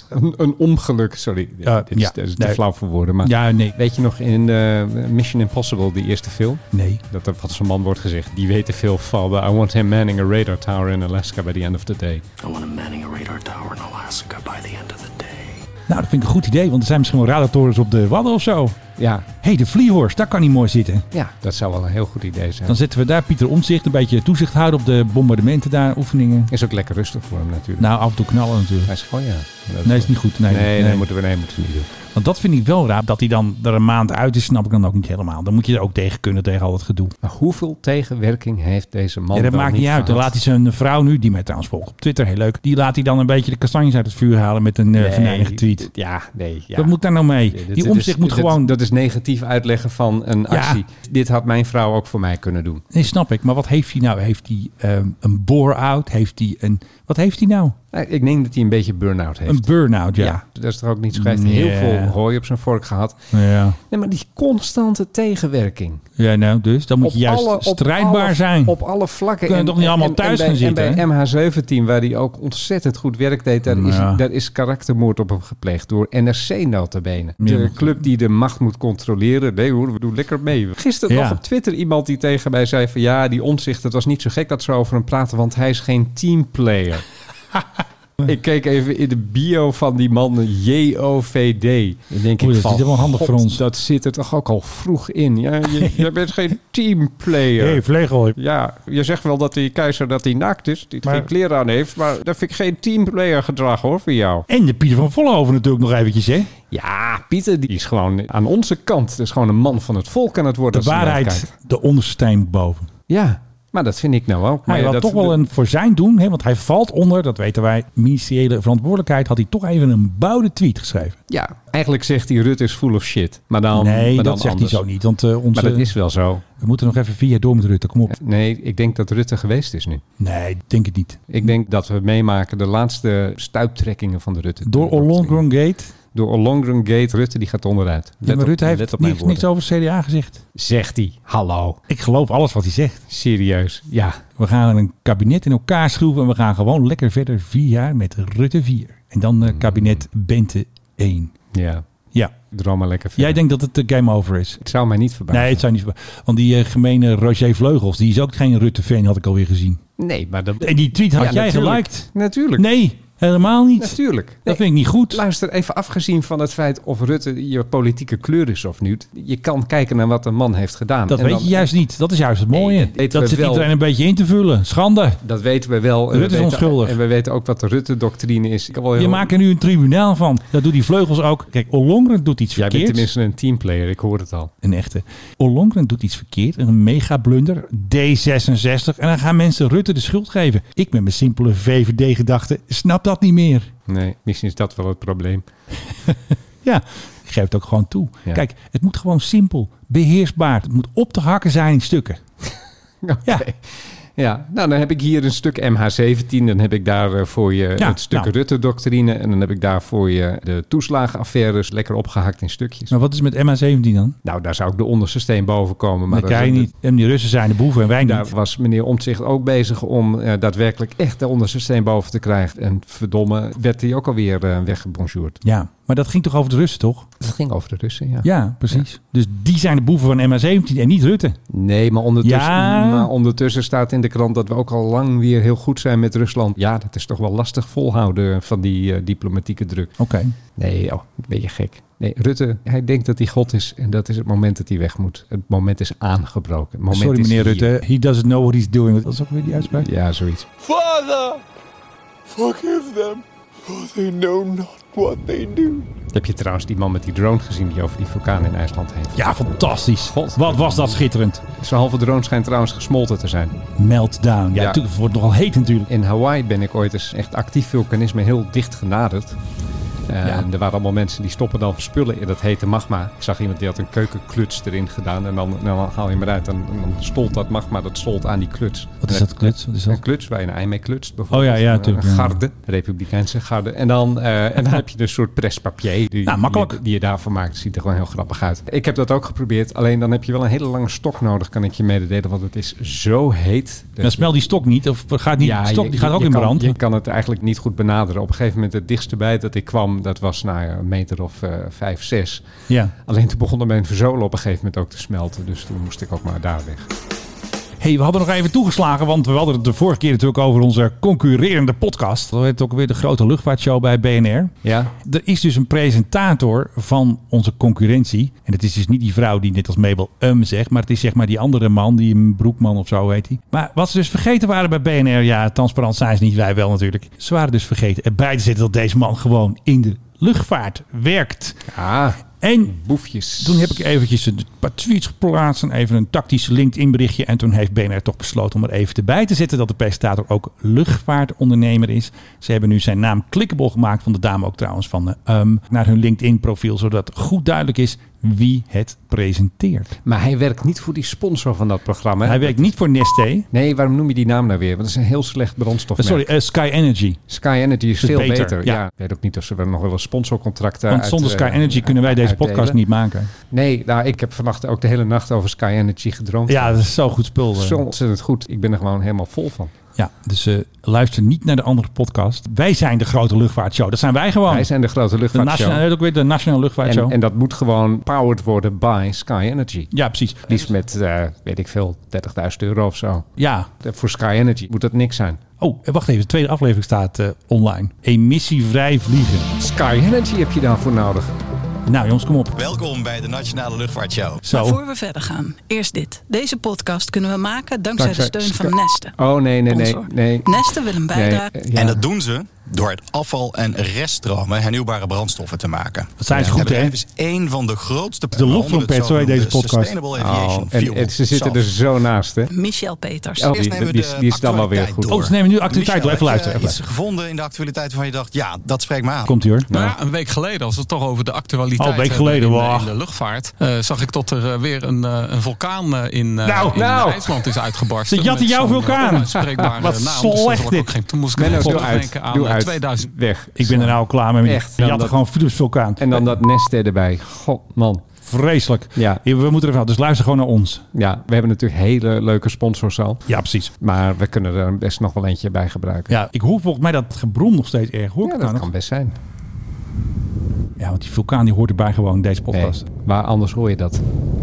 [SPEAKER 4] Een, een ongeluk, sorry.
[SPEAKER 3] Ja,
[SPEAKER 4] dit is
[SPEAKER 3] ja,
[SPEAKER 4] te, te
[SPEAKER 3] nee.
[SPEAKER 4] flauw voor woorden. Maar
[SPEAKER 3] Ja, nee.
[SPEAKER 4] weet je nog in eh, Mission Impossible, die eerste film?
[SPEAKER 3] Nee.
[SPEAKER 4] Dat er van zo'n man wordt gezegd, die weet te veel van. but I want him manning a radar tower in Alaska by the end of the day.
[SPEAKER 10] I want him manning a radar tower in Alaska by the end of the day.
[SPEAKER 3] Nou, dat vind ik een goed idee, want er zijn misschien wel radartorens op de wadden of zo.
[SPEAKER 4] Ja,
[SPEAKER 3] Hé, hey, de vliehorst, daar kan hij mooi zitten.
[SPEAKER 4] ja, dat zou wel een heel goed idee zijn.
[SPEAKER 3] Dan zetten we daar Pieter Omzicht een beetje toezicht houden op de bombardementen daar, oefeningen.
[SPEAKER 4] Is ook lekker rustig voor hem natuurlijk.
[SPEAKER 3] Nou, af en toe knallen natuurlijk.
[SPEAKER 4] Hij is gewoon ja. Dat-
[SPEAKER 3] Nee, is niet goed. Nee,
[SPEAKER 4] Nee, nee, moeten we nee, moeten we niet doen.
[SPEAKER 3] Want dat vind ik wel raar, dat hij dan er een maand uit is, snap ik dan ook niet helemaal. Dan moet je er ook tegen kunnen, tegen al dat gedoe.
[SPEAKER 4] Maar hoeveel tegenwerking heeft deze man?
[SPEAKER 3] Ja, dat
[SPEAKER 4] dan
[SPEAKER 3] maakt niet uit. Dan
[SPEAKER 4] gehad?
[SPEAKER 3] laat hij zijn vrouw nu, die mij trouwens volgt op Twitter, heel leuk. Die laat hij dan een beetje de kastanjes uit het vuur halen met een eh
[SPEAKER 4] Nee,
[SPEAKER 3] venijnige tweet.
[SPEAKER 4] Ja, nee. Ja.
[SPEAKER 3] Wat moet daar nou mee?
[SPEAKER 4] Nee, dit-
[SPEAKER 3] die
[SPEAKER 4] dit
[SPEAKER 3] omzicht
[SPEAKER 4] is-
[SPEAKER 3] moet
[SPEAKER 4] dit-
[SPEAKER 3] gewoon...
[SPEAKER 4] Dat is negatief uitleggen van een actie. Dit had mijn vrouw ook voor mij kunnen doen.
[SPEAKER 3] Nee, snap ik. Maar wat heeft hij nou? Heeft hij ehm, een bore-out? Heeft hij een... Wat heeft hij nou?
[SPEAKER 4] Nou, ik denk dat hij een beetje burn-out heeft.
[SPEAKER 3] Een burn-out, ja.
[SPEAKER 4] Ja, dat is toch ook niet zo. Hij heeft
[SPEAKER 3] Ja.
[SPEAKER 4] heel veel hooi op zijn vork gehad.
[SPEAKER 3] Ja, ja.
[SPEAKER 4] Nee, maar die constante tegenwerking.
[SPEAKER 3] nou, dus dan moet je juist
[SPEAKER 4] alle-
[SPEAKER 3] strijdbaar
[SPEAKER 4] alle-
[SPEAKER 3] zijn.
[SPEAKER 4] Op alle vlakken.
[SPEAKER 3] Kunnen
[SPEAKER 4] En-
[SPEAKER 3] toch niet
[SPEAKER 4] en-
[SPEAKER 3] allemaal
[SPEAKER 4] en-
[SPEAKER 3] thuis
[SPEAKER 4] en bij,
[SPEAKER 3] gaan zitten,
[SPEAKER 4] En bij MH17, waar hij ook ontzettend goed werk deed, daar,
[SPEAKER 3] Nou Ja.
[SPEAKER 4] is, daar is karaktermoord op hem gepleegd door NRC notabene.
[SPEAKER 3] Ja,
[SPEAKER 4] De
[SPEAKER 3] maar-
[SPEAKER 4] club die de macht moet controleren. Nee hoor, we doen lekker mee. Gisteren
[SPEAKER 3] Ja.
[SPEAKER 4] nog op Twitter iemand die tegen mij zei van ja, die omzicht, het was niet zo gek dat ze over hem praten, want hij is geen teamplayer. Ik keek even in de bio van die man, JOVD. Dan denk
[SPEAKER 3] Oeh,
[SPEAKER 4] ik
[SPEAKER 3] dat
[SPEAKER 4] van,
[SPEAKER 3] is wel handig voor
[SPEAKER 4] God,
[SPEAKER 3] ons.
[SPEAKER 4] Dat zit er toch ook al vroeg in. Ja, je, jij bent geen teamplayer.
[SPEAKER 3] hey, vlegel.
[SPEAKER 4] Ja, je zegt wel dat die keizer dat hij naakt is, die
[SPEAKER 3] Maar-
[SPEAKER 4] geen kleren aan heeft. Maar dat vind ik geen teamplayer gedrag hoor, voor jou.
[SPEAKER 3] En de Pieter van Vollenhoven natuurlijk nog eventjes, hè?
[SPEAKER 4] Ja, Pieter die is gewoon aan onze kant. Dat is gewoon een man van het volk aan het
[SPEAKER 3] De
[SPEAKER 4] worden. als je naar kijkt.
[SPEAKER 3] waarheid, de ondersteen boven.
[SPEAKER 4] Ja, maar dat vind ik nou ook.
[SPEAKER 3] Maar
[SPEAKER 4] Maar
[SPEAKER 3] hij
[SPEAKER 4] ja,
[SPEAKER 3] had
[SPEAKER 4] dat,
[SPEAKER 3] toch wel een voor zijn doen, hè, want hij valt onder, dat weten wij, ministeriële verantwoordelijkheid, had hij toch even een boude tweet geschreven.
[SPEAKER 4] Ja, eigenlijk zegt hij Rutte is full of shit. Maar dan,
[SPEAKER 3] nee,
[SPEAKER 4] maar dan
[SPEAKER 3] dat zegt
[SPEAKER 4] anders.
[SPEAKER 3] hij zo niet, want eh, onze,
[SPEAKER 4] Maar dat is wel zo.
[SPEAKER 3] we moeten nog even vier jaar door met Rutte, kom op.
[SPEAKER 4] Nee, ik denk dat Rutte geweest is nu.
[SPEAKER 3] Nee, ik denk het niet.
[SPEAKER 4] Ik denk dat we meemaken de laatste stuiptrekkingen van de Rutte.
[SPEAKER 3] Door Ollongren Gate,
[SPEAKER 4] Door Ollongren Gate. Rutte die gaat onderuit.
[SPEAKER 3] ja, maar Rutte
[SPEAKER 4] let
[SPEAKER 3] heeft
[SPEAKER 4] op mijn
[SPEAKER 3] niks, niks
[SPEAKER 4] woorden.
[SPEAKER 3] over CDA gezegd.
[SPEAKER 4] Zegt hij. Hallo.
[SPEAKER 3] Ik geloof alles wat hij zegt.
[SPEAKER 4] Serieus. Ja.
[SPEAKER 3] We gaan een kabinet in elkaar schroeven en we gaan gewoon lekker verder vier jaar met Rutte 4. En dan eh, kabinet Bente 1.
[SPEAKER 4] Ja,
[SPEAKER 3] Ja.
[SPEAKER 4] droom maar lekker
[SPEAKER 3] Jij
[SPEAKER 4] verder.
[SPEAKER 3] denkt dat het eh, game over is?
[SPEAKER 4] Het zou mij niet verbazen.
[SPEAKER 3] Nee, het zijn niet. verba- Want die eh, gemene Roger Vleugels, die is ook geen Rutte-fan, had ik alweer gezien.
[SPEAKER 4] Nee, maar dat...
[SPEAKER 3] En die tweet had
[SPEAKER 4] Ja,
[SPEAKER 3] jij
[SPEAKER 4] natuurlijk.
[SPEAKER 3] geliked.
[SPEAKER 4] Natuurlijk.
[SPEAKER 3] Nee, helemaal niet.
[SPEAKER 4] Natuurlijk. Nee,
[SPEAKER 3] Dat vind ik niet goed.
[SPEAKER 4] Luister, even afgezien van het feit of Rutte je politieke kleur is of niet. Je kan kijken naar wat een man heeft gedaan.
[SPEAKER 3] Dat
[SPEAKER 4] En
[SPEAKER 3] weet
[SPEAKER 4] dan-
[SPEAKER 3] je juist niet. Dat is juist het mooie.
[SPEAKER 4] Nee, dat weten
[SPEAKER 3] dat
[SPEAKER 4] we
[SPEAKER 3] zit
[SPEAKER 4] wel.
[SPEAKER 3] iedereen een beetje in te vullen. Schande.
[SPEAKER 4] Dat weten we wel.
[SPEAKER 3] Rutte
[SPEAKER 4] En we
[SPEAKER 3] is
[SPEAKER 4] weten-
[SPEAKER 3] onschuldig.
[SPEAKER 4] En we weten ook wat de Rutte-doctrine is. Ik kan wel
[SPEAKER 3] Je
[SPEAKER 4] heel-
[SPEAKER 3] maakt er nu een tribunaal van. Dat doet die vleugels ook. Kijk, Ollongren doet iets
[SPEAKER 4] Jij
[SPEAKER 3] verkeerd.
[SPEAKER 4] bent tenminste een teamplayer, ik hoor het al.
[SPEAKER 3] Een echte. Ollongren doet iets verkeerd. Een mega blunder. D66. En dan gaan mensen Rutte de schuld geven. Ik met mijn simpele VVD-gedachte snap dat niet meer.
[SPEAKER 4] Nee, misschien is dat wel het probleem.
[SPEAKER 3] Ja, ik geef het ook gewoon toe.
[SPEAKER 4] Ja.
[SPEAKER 3] Kijk, het moet gewoon simpel, beheersbaar. Het moet op te hakken zijn in stukken.
[SPEAKER 4] Oké.
[SPEAKER 3] Ja.
[SPEAKER 4] Ja, nou dan heb ik hier een stuk MH17. Dan heb ik daar eh, voor je
[SPEAKER 3] Ja,
[SPEAKER 4] het stuk
[SPEAKER 3] nou.
[SPEAKER 4] Rutte-doctrine. En dan heb ik daar voor je de toeslagenaffaires lekker opgehakt in stukjes.
[SPEAKER 3] Maar wat is met MH17 dan?
[SPEAKER 4] Nou, daar zou ik de onderste steen boven komen. Maar
[SPEAKER 3] dat kan je
[SPEAKER 4] is-
[SPEAKER 3] niet. En die Russen zijn de boeven en wij niet.
[SPEAKER 4] Daar was meneer Omtzigt ook bezig om eh, daadwerkelijk echt de onderste steen boven te krijgen. En verdomme, werd hij ook alweer eh weggebonjourd.
[SPEAKER 3] Ja, maar dat ging toch over de Russen, toch?
[SPEAKER 4] Dat ging over de Russen, ja.
[SPEAKER 3] Ja, precies. Dus die zijn de boeven van MH17 en niet Rutte.
[SPEAKER 4] Nee, maar ondertussen,
[SPEAKER 3] Ja.
[SPEAKER 4] maar ondertussen staat in de krant dat we ook al lang weer heel goed zijn met Rusland. Ja, dat is toch wel lastig volhouden van die eh, diplomatieke druk.
[SPEAKER 3] Oké.
[SPEAKER 4] Nee, oh, ben je gek. Nee, Rutte, hij denkt dat hij God is en dat is het moment dat hij weg moet. Het moment is aangebroken. Het moment
[SPEAKER 3] Sorry
[SPEAKER 4] is
[SPEAKER 3] meneer
[SPEAKER 4] hier.
[SPEAKER 3] Rutte, he doesn't know what he's doing. Dat is ook weer die uitspraak.
[SPEAKER 4] Ja, zoiets.
[SPEAKER 10] Father, forgive them, for they know not what they do.
[SPEAKER 4] Heb je trouwens die man met die drone gezien die over die vulkaan in IJsland heen vloog?
[SPEAKER 3] Ja, fantastisch.
[SPEAKER 4] God.
[SPEAKER 3] Wat was dat schitterend.
[SPEAKER 4] Zijn halve drone schijnt trouwens gesmolten te zijn.
[SPEAKER 3] Meltdown. Ja,
[SPEAKER 4] Ja.
[SPEAKER 3] natuurlijk, het wordt nogal heet natuurlijk.
[SPEAKER 4] In Hawaii ben ik ooit eens echt actief vulkanisme heel dicht genaderd. Eh, En
[SPEAKER 3] Ja.
[SPEAKER 4] Er waren allemaal mensen die stoppen dan spullen in dat hete magma. Ik zag iemand die had een keukenkluts erin gedaan. En dan, dan haal je hem eruit. En dan stolt dat magma, dat stolt aan die kluts.
[SPEAKER 3] Wat is dat kluts? Wat is
[SPEAKER 4] Een
[SPEAKER 3] dat?
[SPEAKER 4] kluts waar je een ei mee klutst. bijvoorbeeld.
[SPEAKER 3] Oh ja, ja,
[SPEAKER 4] Een-
[SPEAKER 3] natuurlijk,
[SPEAKER 4] Een
[SPEAKER 3] ja.
[SPEAKER 4] garde, een republikeinse garde. En dan, eh, en dan heb je een soort prespapier die,
[SPEAKER 3] Nou, makkelijk.
[SPEAKER 4] die, die je daarvan maakt. Ziet er gewoon heel grappig uit. Ik heb dat ook geprobeerd. Alleen dan heb je wel een hele lange stok nodig, kan ik je mededelen. Want het is zo heet.
[SPEAKER 3] Dan Nou, smelt die stok niet, of gaat niet, de stok
[SPEAKER 4] je-
[SPEAKER 3] die gaat
[SPEAKER 4] je
[SPEAKER 3] ook in
[SPEAKER 4] kan-
[SPEAKER 3] brand.
[SPEAKER 4] Je kan het eigenlijk niet goed benaderen. Op een gegeven moment het dichtste bij dat ik kwam, dat was nou, ja, een meter of eh, vijf, zes.
[SPEAKER 3] Ja.
[SPEAKER 4] Alleen toen begon mijn verzolen op een gegeven moment ook te smelten. Dus toen moest ik ook maar daar weg.
[SPEAKER 3] hey, we hadden nog even toegeslagen, want we hadden het de vorige keer natuurlijk over onze concurrerende podcast. Dat heet ook weer de grote luchtvaartshow bij BNR.
[SPEAKER 4] Ja,
[SPEAKER 3] Er is dus een presentator van onze concurrentie. En het is dus niet die vrouw die net als Mabel um zegt. Maar het is zeg maar die andere man, die een broekman of zo heet hij. Maar wat ze dus vergeten waren bij BNR. Ja, transparant zijn ze niet, wij wel natuurlijk. Ze waren dus vergeten erbij te zetten dat deze man gewoon in de luchtvaart werkt.
[SPEAKER 4] ah,
[SPEAKER 3] En
[SPEAKER 4] boefjes.
[SPEAKER 3] toen heb ik eventjes een paar tweets geplaatst en even een tactisch LinkedIn berichtje. En toen heeft BNR toch besloten om er even erbij te zetten dat de presentator ook luchtvaartondernemer is. Ze hebben nu zijn naam clickable gemaakt, van de dame ook trouwens, van, eh, ehm, naar hun LinkedIn profiel. Zodat goed duidelijk is wie het presenteert.
[SPEAKER 4] Maar hij werkt niet voor die sponsor van dat programma.
[SPEAKER 3] Hij werkt niet voor Nestlé.
[SPEAKER 4] Nee, waarom noem je die naam nou weer? Want dat is een heel slecht brandstof.
[SPEAKER 3] Eh, sorry, eh, Sky Energy.
[SPEAKER 4] Sky Energy is
[SPEAKER 3] Is
[SPEAKER 4] veel
[SPEAKER 3] beter,
[SPEAKER 4] beter.
[SPEAKER 3] ja.
[SPEAKER 4] ja. ik weet ook niet of ze er nog wel een sponsorcontract eh,
[SPEAKER 3] Want
[SPEAKER 4] uit,
[SPEAKER 3] zonder
[SPEAKER 4] eh,
[SPEAKER 3] Sky Energy kunnen wij deze
[SPEAKER 4] uitdelen.
[SPEAKER 3] podcast niet maken.
[SPEAKER 4] Nee, nou, ik heb vannacht ook de hele nacht over Sky Energy gedroomd.
[SPEAKER 3] Ja, dat is zo goed spul. eh.
[SPEAKER 4] Zo ontzettend goed. Ik ben er gewoon helemaal vol van.
[SPEAKER 3] Ja, dus eh, luister niet naar de andere podcast. Wij zijn de grote luchtvaartshow. Dat zijn wij gewoon.
[SPEAKER 4] Wij zijn de grote
[SPEAKER 3] de
[SPEAKER 4] luchtvaartshow.
[SPEAKER 3] nationale, ook weer de nationale luchtvaartshow.
[SPEAKER 4] En, en dat moet gewoon powered worden by Sky Energy.
[SPEAKER 3] Ja, precies.
[SPEAKER 4] Liefst met, eh, weet ik veel, 30.000 euro of zo. Eh,
[SPEAKER 3] Ja.
[SPEAKER 4] Voor Sky Energy moet dat niks zijn.
[SPEAKER 3] Oh, eh, wacht even. De tweede aflevering staat eh, online. Emissievrij vliegen.
[SPEAKER 4] Sky Energy heb je daarvoor nodig.
[SPEAKER 3] Nou jongens, kom op.
[SPEAKER 10] Welkom bij de Nationale Luchtvaartshow.
[SPEAKER 3] Zo.
[SPEAKER 6] Voor we verder gaan, eerst dit. Deze podcast kunnen we maken dankzij, de
[SPEAKER 4] Dankzij
[SPEAKER 6] steun van
[SPEAKER 4] Sky-
[SPEAKER 6] Neste.
[SPEAKER 4] Oh, nee, nee, nee.
[SPEAKER 6] Sponsor.
[SPEAKER 4] nee.
[SPEAKER 6] Neste wil een bijdrage.
[SPEAKER 4] Nee, eh, ja.
[SPEAKER 10] En dat doen ze door het afval en reststromen hernieuwbare brandstoffen te maken.
[SPEAKER 3] Dat zijn ze
[SPEAKER 10] Het
[SPEAKER 3] goed, hè?
[SPEAKER 10] bedrijf is één van de grootste...
[SPEAKER 3] De loftrompet, zo heet deze podcast.
[SPEAKER 10] Sustainable
[SPEAKER 4] Oh,
[SPEAKER 10] Aviation
[SPEAKER 4] en,
[SPEAKER 10] Fuel.
[SPEAKER 4] en ze zitten dus- er zo naast, hè?
[SPEAKER 6] Michel Peters.
[SPEAKER 4] Oh,
[SPEAKER 10] Eerst
[SPEAKER 4] die,
[SPEAKER 10] nemen we
[SPEAKER 4] die,
[SPEAKER 10] de
[SPEAKER 4] die is dan wel weer
[SPEAKER 10] actualiteit
[SPEAKER 4] goed.
[SPEAKER 10] door.
[SPEAKER 3] Oh, ze nemen nu actualiteit door.
[SPEAKER 10] Michel,
[SPEAKER 3] Even luisteren.
[SPEAKER 10] heb
[SPEAKER 3] Even
[SPEAKER 10] je iets
[SPEAKER 3] luisteren.
[SPEAKER 10] gevonden in de actualiteit waarvan je dacht... ja, dat spreekt me aan.
[SPEAKER 3] Komt ie hoor.
[SPEAKER 11] Nou ja, een week geleden, als we het toch over de actualiteit
[SPEAKER 3] Oh, een week
[SPEAKER 11] hebben
[SPEAKER 3] geleden,
[SPEAKER 11] in, de-
[SPEAKER 3] wauw.
[SPEAKER 11] in de luchtvaart, eh, zag ik dat er eh, weer een, eh, een vulkaan eh, in, eh
[SPEAKER 3] Nou,
[SPEAKER 11] in
[SPEAKER 3] nou.
[SPEAKER 11] IJsland is uitgebarsten.
[SPEAKER 3] Ze jatten
[SPEAKER 11] met
[SPEAKER 3] jouw
[SPEAKER 11] zo'n, eh,
[SPEAKER 3] vulkaan.
[SPEAKER 11] onuitspreekbare
[SPEAKER 3] Wat
[SPEAKER 11] naam, dus dat
[SPEAKER 3] slecht
[SPEAKER 11] wordt ook
[SPEAKER 3] dit.
[SPEAKER 11] geen- Toen moest ik
[SPEAKER 4] Menno,
[SPEAKER 11] even
[SPEAKER 4] doe uit.
[SPEAKER 11] terugdenken aan
[SPEAKER 4] Doe
[SPEAKER 11] eh,
[SPEAKER 4] uit.
[SPEAKER 11] 2000.
[SPEAKER 4] Weg.
[SPEAKER 3] Ik ben er nou al klaar mee.
[SPEAKER 4] Echt.
[SPEAKER 3] Je had
[SPEAKER 4] Dan
[SPEAKER 3] er
[SPEAKER 4] dat-
[SPEAKER 3] gewoon Philips vulkaan.
[SPEAKER 4] En dan dat nest erbij. God, man.
[SPEAKER 3] vreselijk.
[SPEAKER 4] Ja.
[SPEAKER 3] We moeten ervan. Dus luister gewoon naar ons.
[SPEAKER 4] Ja, we hebben natuurlijk hele leuke sponsors al.
[SPEAKER 3] Ja, precies.
[SPEAKER 4] Maar we kunnen er best nog wel eentje bij gebruiken.
[SPEAKER 3] Ja, ik hoor volgens mij dat gebrom nog steeds erg. Hoor ik
[SPEAKER 4] Ja,
[SPEAKER 3] nou
[SPEAKER 4] dat
[SPEAKER 3] nog?
[SPEAKER 4] kan best zijn.
[SPEAKER 3] ja, want die vulkaan die hoort erbij gewoon in deze
[SPEAKER 4] Nee,
[SPEAKER 3] podcast.
[SPEAKER 4] waar anders hoor je dat?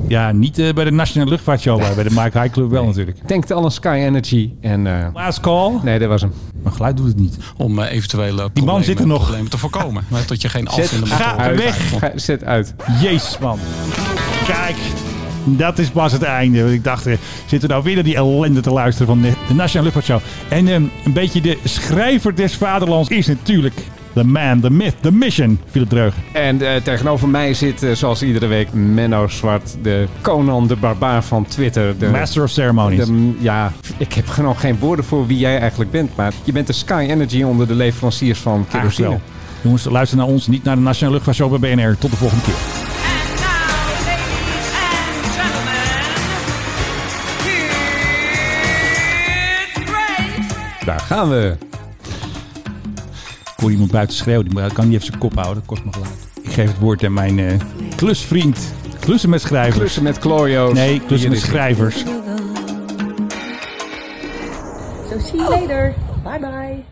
[SPEAKER 3] Ja, niet eh, bij de Nationale Luchtvaartshow, maar bij de Mike High Club wel natuurlijk.
[SPEAKER 4] Tankt alle Sky Energy en... eh,
[SPEAKER 3] Last call.
[SPEAKER 4] nee, dat was hem.
[SPEAKER 3] Mijn geluid doet het niet.
[SPEAKER 11] Om eh, eventuele problemen,
[SPEAKER 3] zit er nog.
[SPEAKER 11] problemen te voorkomen. Maar tot je geen
[SPEAKER 4] Zet
[SPEAKER 11] af in de motor
[SPEAKER 3] ga
[SPEAKER 4] uit.
[SPEAKER 3] weg.
[SPEAKER 4] Ga- Zet uit.
[SPEAKER 3] Jezus, man. Kijk, dat is pas het einde. Want ik dacht, eh, zitten we nou weer naar die ellende te luisteren van de, de Nationale Luchtvaartshow. En ehm, een beetje de schrijver des vaderlands is natuurlijk de man, de myth, de mission, Philip Dreugen.
[SPEAKER 4] En eh, tegenover mij zit, eh, zoals iedere week, Menno Zwart. De Conan, de barbaar van Twitter. De,
[SPEAKER 3] Master of Ceremonies.
[SPEAKER 4] de- ja, ik heb gewoon geen woorden voor wie jij eigenlijk bent. Maar je bent de Sky Energy onder de leveranciers van
[SPEAKER 3] Eigenlijk
[SPEAKER 4] kerosine.
[SPEAKER 3] wel. Jongens, luister naar ons, niet naar de Nationale Luchtvaartshow bij BNR. Tot de volgende keer.
[SPEAKER 4] Daar gaan we.
[SPEAKER 3] Ik hoor iemand buiten schreeuwen. Die moet- kan niet even zijn kop houden. Dat kost me geluid. Ik geef het woord aan mijn eh, klusvriend. Klussen met schrijvers.
[SPEAKER 4] Klussen met Clorio's.
[SPEAKER 3] Nee, klussen
[SPEAKER 4] Hier
[SPEAKER 3] met
[SPEAKER 4] is het.
[SPEAKER 3] schrijvers.
[SPEAKER 6] So see you later. Bye bye.